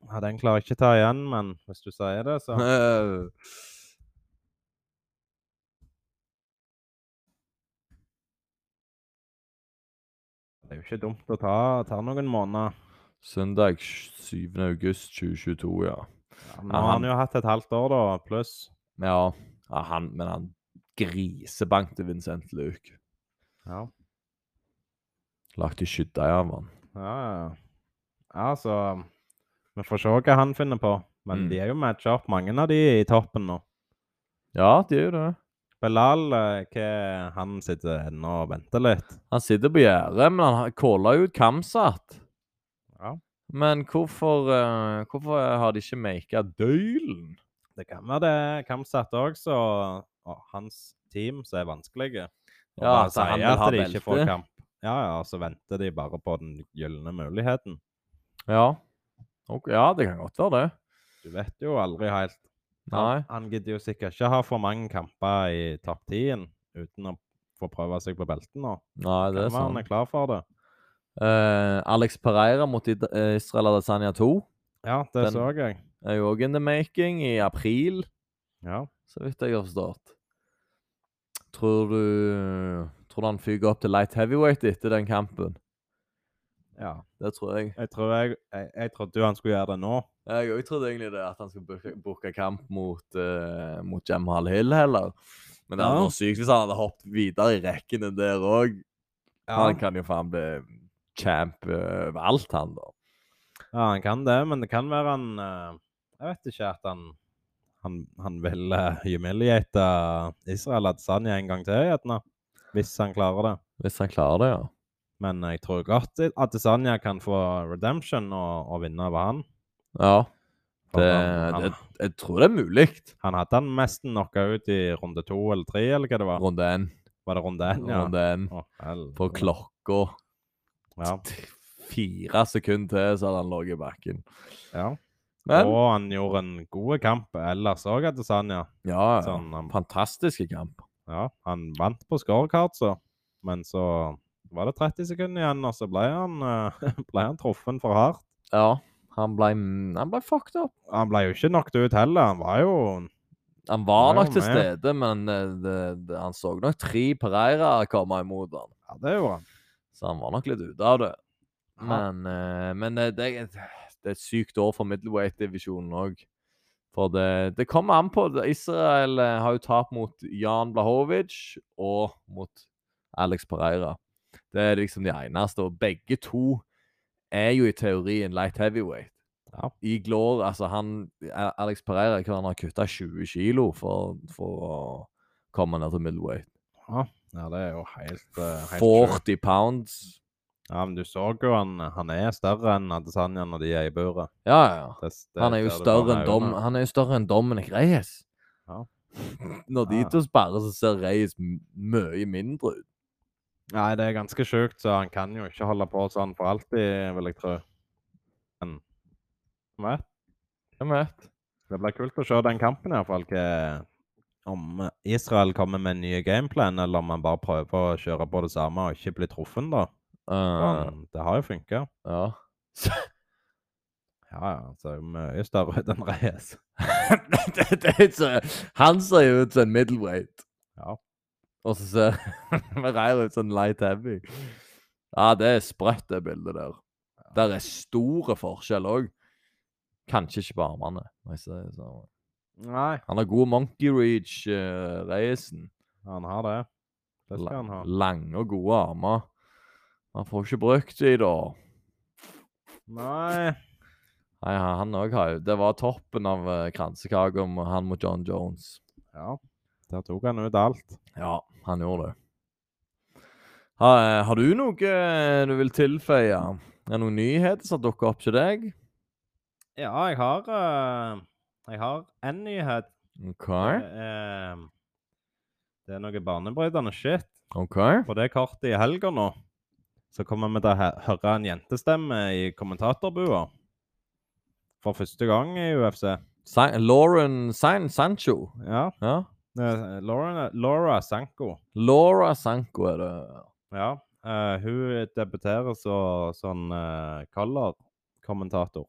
Speaker 2: Ja, den klarer jeg ikke ta igjen, men hvis du sier det, så
Speaker 1: Eh,
Speaker 2: Det er jo ikke dumt å ta, ta noen måneder.
Speaker 1: Søndag 7. august 2022, ja.
Speaker 2: Ja, nå
Speaker 1: Ja,
Speaker 2: har
Speaker 1: han-
Speaker 2: han jo hatt et halvt år, da, pluss.
Speaker 1: Ja, ja han, men han grisebankte Vincent Luke.
Speaker 2: Ja.
Speaker 1: Lagt i skydda i ham.
Speaker 2: Ja, ja, ja. Ja, så Vi får se hva han finner på. Men
Speaker 1: Mm.
Speaker 2: de er jo matcha opp, mange av de i toppen nå.
Speaker 1: Ja, det er jo det.
Speaker 2: Belal, eh, hva han sitter ennå og venter litt.
Speaker 1: Han sitter på gjerdet, men han calla jo ut Kamsat.
Speaker 2: Ja.
Speaker 1: Men hvorfor, eh, hvorfor har de ikke maka Døylen?
Speaker 2: Det kan være det er Kamsat òg, så og hans team som er vanskelige. Og
Speaker 1: Ja,
Speaker 2: bare
Speaker 1: at han
Speaker 2: sier
Speaker 1: vil ha
Speaker 2: at de ikke får
Speaker 1: belte.
Speaker 2: kamp. Ja, ja, så venter de bare på den gylne muligheten.
Speaker 1: Ja. Ok, ja, det kan godt være det.
Speaker 2: Du vet jo aldri helt.
Speaker 1: Nei.
Speaker 2: Han, han gidder jo sikkert ikke ha for mange kamper i topp 10 uten å få prøve seg på beltet nå.
Speaker 1: Nei, det
Speaker 2: Kan
Speaker 1: er
Speaker 2: være han
Speaker 1: sant.
Speaker 2: er klar for det.
Speaker 1: Eh, Alex Pereira mot Id- eh, Israel Adesanya 2
Speaker 2: Ja, det
Speaker 1: Den-
Speaker 2: så jeg.
Speaker 1: er jo òg in the making i april,
Speaker 2: Ja.
Speaker 1: så vidt jeg har forstått. Tror du Tror du han fyker opp til light heavyweight etter den kampen?
Speaker 2: ja.
Speaker 1: Det tror jeg.
Speaker 2: Jeg, tror jeg, jeg, jeg trodde jo han skulle gjøre det nå.
Speaker 1: Jeg òg trodde egentlig det, at han skulle booke- booke kamp mot, uh, mot Jamal Hill heller. Men det hadde
Speaker 2: Ja.
Speaker 1: vært sykt hvis han hadde hoppet videre i rekkene der òg.
Speaker 2: Ja.
Speaker 1: Han kan jo faen bli champ eh, over alt, han, da.
Speaker 2: Ja, han kan det, men det kan være han eh, Jeg vet ikke at han han, han vil eh, humiliate eh, Israel Adesanya en gang til, gjerne. Hvis han klarer det.
Speaker 1: Hvis han klarer det, ja.
Speaker 2: Men jeg tror godt Adesanya kan få redemption og, og vinne over han.
Speaker 1: Ja,
Speaker 2: For
Speaker 1: Det-
Speaker 2: han, han,
Speaker 1: det- jeg tror det er mulig.
Speaker 2: han hadde han nesten knocka ut i runde to eller tre, eller hva det var.
Speaker 1: Runde én.
Speaker 2: Var det runde én? Ja.
Speaker 1: Runde én.
Speaker 2: Å, helvete.
Speaker 1: På klokka
Speaker 2: Ja.
Speaker 1: t- fire sekunder til, så hadde han ligget i bakken.
Speaker 2: ja.
Speaker 1: Men
Speaker 2: Og han gjorde en god kamp ellers òg, Adesanya.
Speaker 1: ja, ja.
Speaker 2: Sånn, han
Speaker 1: Fantastiske kamp.
Speaker 2: Ja, han vant på scorecard, så. Men så var det 30 sekunder igjen, og så ble han, eh, ble han truffen for hardt.
Speaker 1: Ja. Han ble, han ble fucked up.
Speaker 2: Han ble jo ikke knocked ut heller. Han var jo
Speaker 1: Han var
Speaker 2: Han var
Speaker 1: nok til
Speaker 2: med.
Speaker 1: stede, men eh, det, det, han så nok tre Pereira komme imot han.
Speaker 2: Ja, det gjorde han.
Speaker 1: Så han var nok litt ute av det.
Speaker 2: Ja.
Speaker 1: Men, eh, men eh, det, er- det er et sykt år for middleweight-divisjonen òg. For det, det kommer an på. det. Israel eh, har jo tap mot Jan Blahovic og mot Alex Pereira. Det er liksom de eneste. Og begge to er jo i teorien light heavyweight.
Speaker 2: Ja.
Speaker 1: I Glor, altså han A- Alex Pereira kan ha kutta 20 kilo for, for å komme ned til middleweight.
Speaker 2: Ja, det er jo helt, eh, helt sjukt.
Speaker 1: 40 pounds.
Speaker 2: Ja, men du så jo han, han er større enn Adesanya når de er i buret.
Speaker 1: Ja, ja, ja.
Speaker 2: Det, det
Speaker 1: Han er jo
Speaker 2: ser du
Speaker 1: større
Speaker 2: bare
Speaker 1: enn
Speaker 2: med
Speaker 1: Dom,
Speaker 2: øynene.
Speaker 1: han er jo større enn Dominic Reyes.
Speaker 2: Ja.
Speaker 1: Når de
Speaker 2: Ja.
Speaker 1: to sperrer, så ser Reyes m- mye mindre ut.
Speaker 2: Nei, det er ganske sjukt, så han kan jo ikke holde på sånn for alltid, vil jeg tro. Men hvem vet?
Speaker 1: Hvem vet?
Speaker 2: Det blir kult å se den kampen, iallfall. Om Israel kommer med en ny gameplan, eller om man bare prøver å kjøre på det samme og ikke bli truffen, da.
Speaker 1: Eh,
Speaker 2: Men det har jo funka.
Speaker 1: ja.
Speaker 2: Ja, ja. Så er jo mye større ut enn Reyes.
Speaker 1: det, det er så, han ser jo ut som en middleweight.
Speaker 2: Ja.
Speaker 1: Og så ser Reyes ut som en light heavy. Ja, det er sprøtt, det bildet der. Der er store forskjell òg. Kanskje ikke på armene. må jeg si det sånn.
Speaker 2: Nei,
Speaker 1: Han har god monkey reach, uh, Reyesen.
Speaker 2: han har det. Det skal han ha.
Speaker 1: Lang- Lange og gode armer. Han får ikke brukt de, da.
Speaker 2: Nei.
Speaker 1: Nei, han- han òg har jo Det var toppen av eh, kransekaka, om han mot John Jones.
Speaker 2: Ja. Der tok han ut alt.
Speaker 1: Ja, han gjorde det. Har, har du noe eh, du vil tilføye? Er det noen nyheter som dukker opp til deg?
Speaker 2: Ja, jeg har eh, Jeg har en nyhet.
Speaker 1: OK.
Speaker 2: Det er, det er noe banebrytende shit.
Speaker 1: ok.
Speaker 2: På det kartet i helga nå så kommer vi til å he- høre en jentestemme i kommentatorbua. For første gang i UFC.
Speaker 1: Sa Lauren San Sancho.
Speaker 2: Ja.
Speaker 1: Ja.
Speaker 2: eh, Laura, Laura Sanko.
Speaker 1: Laura Sanko er det.
Speaker 2: Ja. eh, hun debuterer som sånn uh, color-kommentator.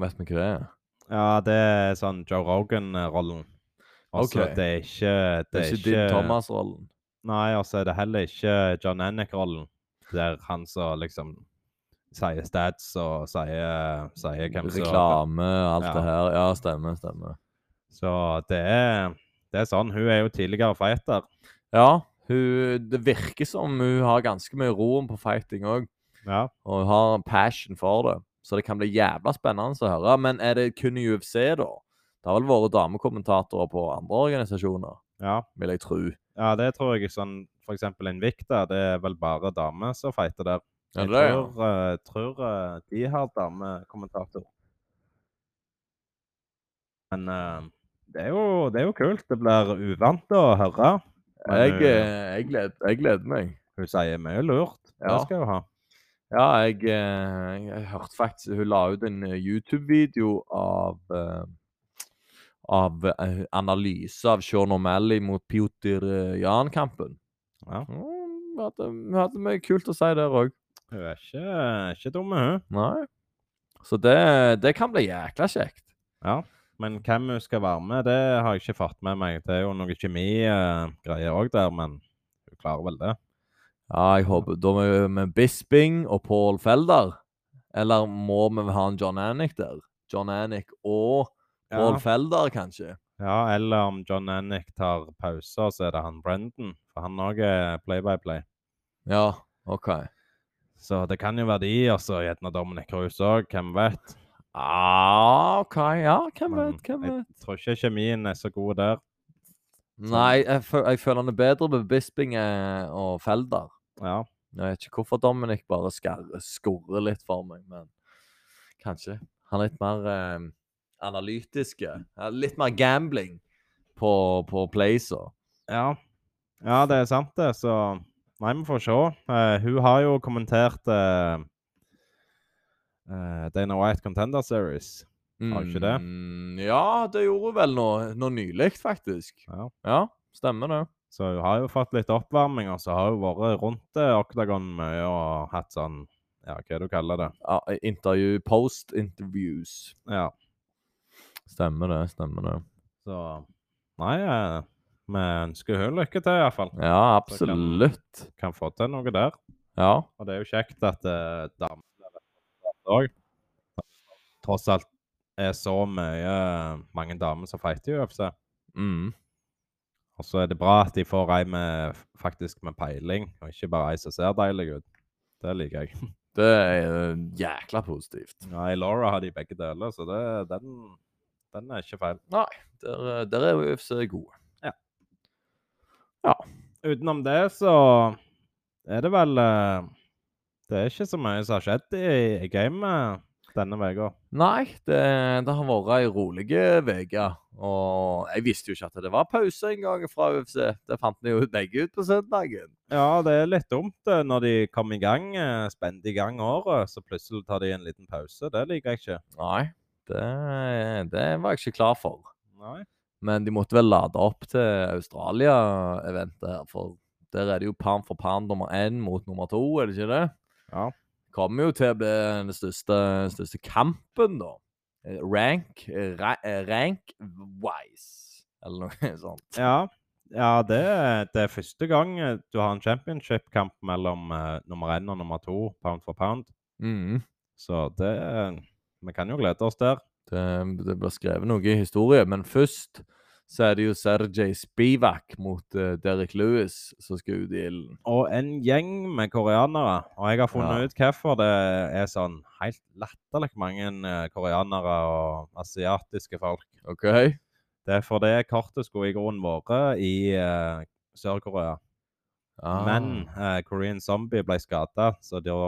Speaker 1: Vet vi hva det er?
Speaker 2: Ja, det er sånn Joe Rogan-rollen. Altså,
Speaker 1: Ok.
Speaker 2: det er ikke
Speaker 1: Det er ikke din Thomas-rollen.
Speaker 2: Nei, altså, det er heller ikke John Annick-rollen. Der han som liksom sier stats og sier, sier hvem som
Speaker 1: Reklame, alt
Speaker 2: Ja.
Speaker 1: det her. Ja, stemmer, stemmer.
Speaker 2: Så det er, det er sånn. Hun er jo tidligere fighter.
Speaker 1: Ja, hun, det virker som hun har ganske mye roen på fighting òg.
Speaker 2: Ja.
Speaker 1: Og hun har en passion for det. Så det kan bli jævla spennende å høre. Men er det kun i UFC, da? Det har vel vært damekommentatorer på andre organisasjoner,
Speaker 2: ja.
Speaker 1: vil jeg tro.
Speaker 2: Ja, det tror jeg sånn For eksempel Invicta, det er vel bare damer som fighter der.
Speaker 1: Er
Speaker 2: Jeg
Speaker 1: det det, ja?
Speaker 2: tror, eh, tror eh, de har damekommentator. Men eh, det, er jo, det er jo kult. Det blir uvant å høre. Men
Speaker 1: Jeg,
Speaker 2: hun,
Speaker 1: eh, jeg, gleder, jeg gleder meg.
Speaker 2: hun sier mye lurt.
Speaker 1: Ja.
Speaker 2: Det skal hun ha.
Speaker 1: Ja, jeg, eh, jeg hørte faktisk Hun la ut en eh, YouTube-video av eh, Av eh, analyse av Sean O'Malley mot Pjotr eh, Jan-kampen.
Speaker 2: Ja.
Speaker 1: Mm, Hun hadde, hun hadde mye kult å si der òg.
Speaker 2: Hun er ikke, ikke dum, hun.
Speaker 1: Nei. Så det, det kan bli jækla kjekt.
Speaker 2: Ja. Men hvem hun skal være med, det har jeg ikke fått med meg. Det er jo noe kjemigreier òg der, men hun klarer vel det.
Speaker 1: Ja, jeg håper Da må vi med Bisping og Paul Felder. Eller må vi ha en John Annick der? John Annick og Paul
Speaker 2: Ja.
Speaker 1: Felder, kanskje?
Speaker 2: Ja, eller om John Annick tar pauser, så er det han Brendan. For han òg er play-by-play.
Speaker 1: Ja, OK.
Speaker 2: Så det kan jo være de, altså. Gjerne Dominic Cruz òg, hvem vet?
Speaker 1: Ah, OK. Ja, hvem
Speaker 2: Men
Speaker 1: vet? Hvem
Speaker 2: jeg-
Speaker 1: vet?
Speaker 2: Tror ikke kjemien er så god der.
Speaker 1: Nei, jeg, fø- jeg føler han er bedre med Bisping eh, og Felder.
Speaker 2: Ja.
Speaker 1: Jeg vet ikke hvorfor Dominic bare skarrer- skurrer litt for meg, men kanskje. Han er litt mer eh, analytiske. Ja, Litt mer gambling på, på Placer.
Speaker 2: ja. Ja, det er sant, det. Så Nei, vi får se. Eh, hun har jo kommentert eh, eh, Dana White Contender Series. Har hun ikke det?
Speaker 1: Mm, ja, det gjorde hun vel nå, nå nylig, faktisk.
Speaker 2: Ja.
Speaker 1: Ja, stemmer det.
Speaker 2: Så hun har jo fått litt oppvarming, og så har hun vært rundt eh, Octagon mye og hatt sånn Ja, hva du kaller det?
Speaker 1: Ja, intervju, post-interviews.
Speaker 2: Ja.
Speaker 1: Stemmer det, stemmer det.
Speaker 2: Så Nei, eh, vi ønsker hun lykke til, iallfall.
Speaker 1: Ja,
Speaker 2: Så kan-
Speaker 1: absolutt.
Speaker 2: Kan få til noe der.
Speaker 1: Ja.
Speaker 2: Og det er jo kjekt at eh, damer òg Tross alt er så mye eh, mange damer som fighter i UFC.
Speaker 1: Mm.
Speaker 2: Og så er det bra at de får ei med faktisk med peiling, og ikke bare ei som ser deilig ut. Det liker jeg.
Speaker 1: Det er eh, jækla positivt.
Speaker 2: Ja, I Laura har de begge deler, så det, den, den er ikke feil.
Speaker 1: Der, eh, der er UFC gode.
Speaker 2: Utenom det så er det vel eh, Det er ikke så mye som har skjedd i, i gamet denne uka.
Speaker 1: Nei, det, det har vært ei rolig uke. Og jeg visste jo ikke at det var pause en gang fra UFC. Det fant vi jo begge ut på søndagen.
Speaker 2: Ja, det er litt dumt eh, når de kommer i gang, eh, spent i gang året, så plutselig tar de en liten pause. Det liker jeg ikke.
Speaker 1: Nei, det, det var jeg ikke klar for.
Speaker 2: Nei.
Speaker 1: Men de måtte vel lade opp til Australia-eventet her, for der er det jo pound for pound nummer én mot nummer to, er det ikke det?
Speaker 2: Ja.
Speaker 1: Kommer jo til å bli den største, største kampen, da. Eh, Rank ra, eh, Rank-wise, eller noe sånt.
Speaker 2: Ja, ja det, er- det er første gang eh, du har en championship-kamp mellom eh, nummer én og nummer to, pound for pound.
Speaker 1: Mhm.
Speaker 2: Så det eh, Vi kan jo glede oss der.
Speaker 1: Det, det blir skrevet noe i historie, men først så er det jo Sergej Spivak mot eh, Derek Lewis som skal ut i ilden.
Speaker 2: Og en gjeng med koreanere. Og jeg har funnet
Speaker 1: Ja.
Speaker 2: ut hvorfor det er sånn helt latterlig mange eh, koreanere og asiatiske folk.
Speaker 1: OK?
Speaker 2: Det er for det kortet skulle i grunnen vært i eh, Sør-Korea.
Speaker 1: Ah.
Speaker 2: Men eh, Korean Zombie ble skada, så da,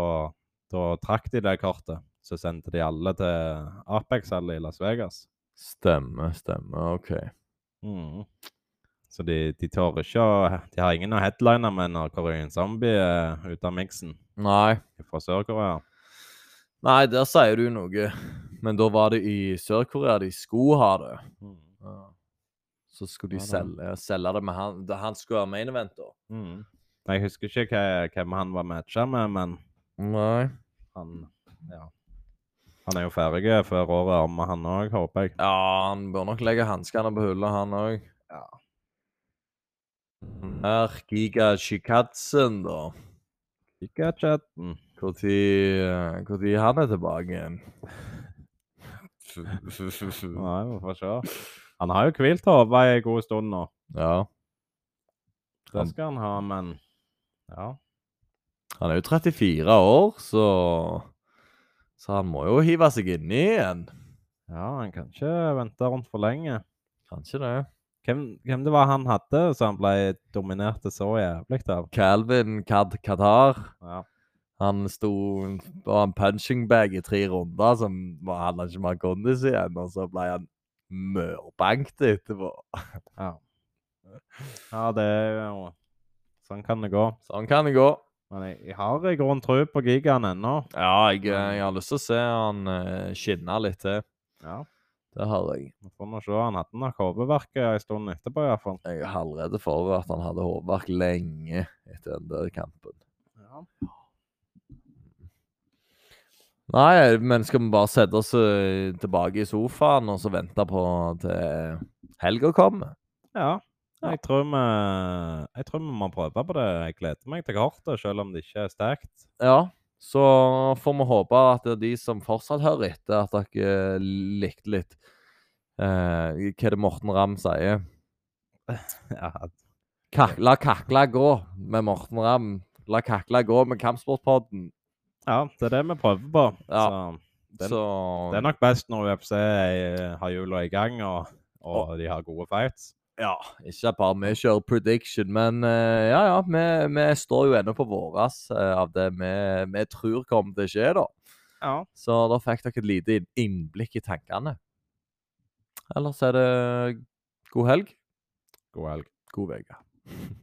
Speaker 2: da trakk de det kortet. Så sendte de alle til Apex-hallen i Las Vegas.
Speaker 1: Stemmer, stemmer. OK.
Speaker 2: Mm. Så de, de tør ikke å De har ingen å headline med når Korean Zombie er ute av miksen
Speaker 1: Nei.
Speaker 2: fra Sør-Korea.
Speaker 1: Nei, der sier du noe. Men da var det i Sør-Korea de skulle ha det.
Speaker 2: Mm.
Speaker 1: Så skulle de
Speaker 2: Ja, da.
Speaker 1: selge, selge det med han da Han skulle være main event, da.
Speaker 2: Mm. Jeg husker ikke hva- hvem han var matcha med, men
Speaker 1: Nei.
Speaker 2: han Ja. Han er jo ferdig før året er omme, han òg, håper jeg.
Speaker 1: Ja, han bør nok legge hanskene på hylla, han òg.
Speaker 2: Ja.
Speaker 1: Her, Giga Shikatsen, da.
Speaker 2: Ikke chatten.
Speaker 1: Når tid han er tilbake igjen?
Speaker 2: Nei, vi får se. Han har jo hvilt hodet ei god stund nå.
Speaker 1: Ja.
Speaker 2: Det skal han ha, men Ja.
Speaker 1: Han er jo 34 år, så Så han må jo hive seg inni igjen.
Speaker 2: ja han kan ikke vente rundt for lenge.
Speaker 1: Kanskje det.
Speaker 2: Hvem, hvem det var han hadde som han ble dominert så jævlig av?
Speaker 1: Calvin Kad Qatar.
Speaker 2: Ja.
Speaker 1: Han sto på en punching bag i tre runder, så var- hadde han ikke mer kondis igjen. Og så ble han mørbankt etterpå.
Speaker 2: Ja. ja, det er jo Sånn kan det gå.
Speaker 1: Sånn kan det gå.
Speaker 2: Men jeg, jeg har i grunnen tro på gigaen ennå.
Speaker 1: Ja, jeg, eh, jeg har lyst til å se han eh, skinne litt til.
Speaker 2: Ja.
Speaker 1: Det har jeg.
Speaker 2: Vi får nå se. Han hadde nok hodeverk en stund etterpå, iallfall.
Speaker 1: Jeg er halvredd for at han hadde hodeverk lenge etter den der kampen.
Speaker 2: Ja.
Speaker 1: Nei, men skal vi bare sette oss eh, tilbake i sofaen og så vente på til helga kommer?
Speaker 2: ja.
Speaker 1: Ja.
Speaker 2: Jeg, tror vi, jeg tror vi må prøve på det. Jeg gleder meg til kortet, selv om det ikke er sterkt.
Speaker 1: Ja. Så får vi håpe at det er de som fortsatt hører etter, at dere likte litt eh, hva det Morten Ramm sier.
Speaker 2: Ja,
Speaker 1: Kak la kakla gå med Morten Ramm. La kakla gå med Kampsportpodden.
Speaker 2: ja det er det vi prøver på.
Speaker 1: Ja.
Speaker 2: Så Den-
Speaker 1: Så
Speaker 2: det er nok best når UFC er- har hjula i gang, og, og de har gode fights.
Speaker 1: Ja, ikke bare vi kjører prediction, men eh, ja, ja. Vi, vi står jo ennå på våres eh, av det vi, vi tror kommer til å skje, da.
Speaker 2: Ja.
Speaker 1: Så da fikk dere et lite inn- innblikk i tankene. Ellers er det god helg,
Speaker 2: God helg.
Speaker 1: god uke.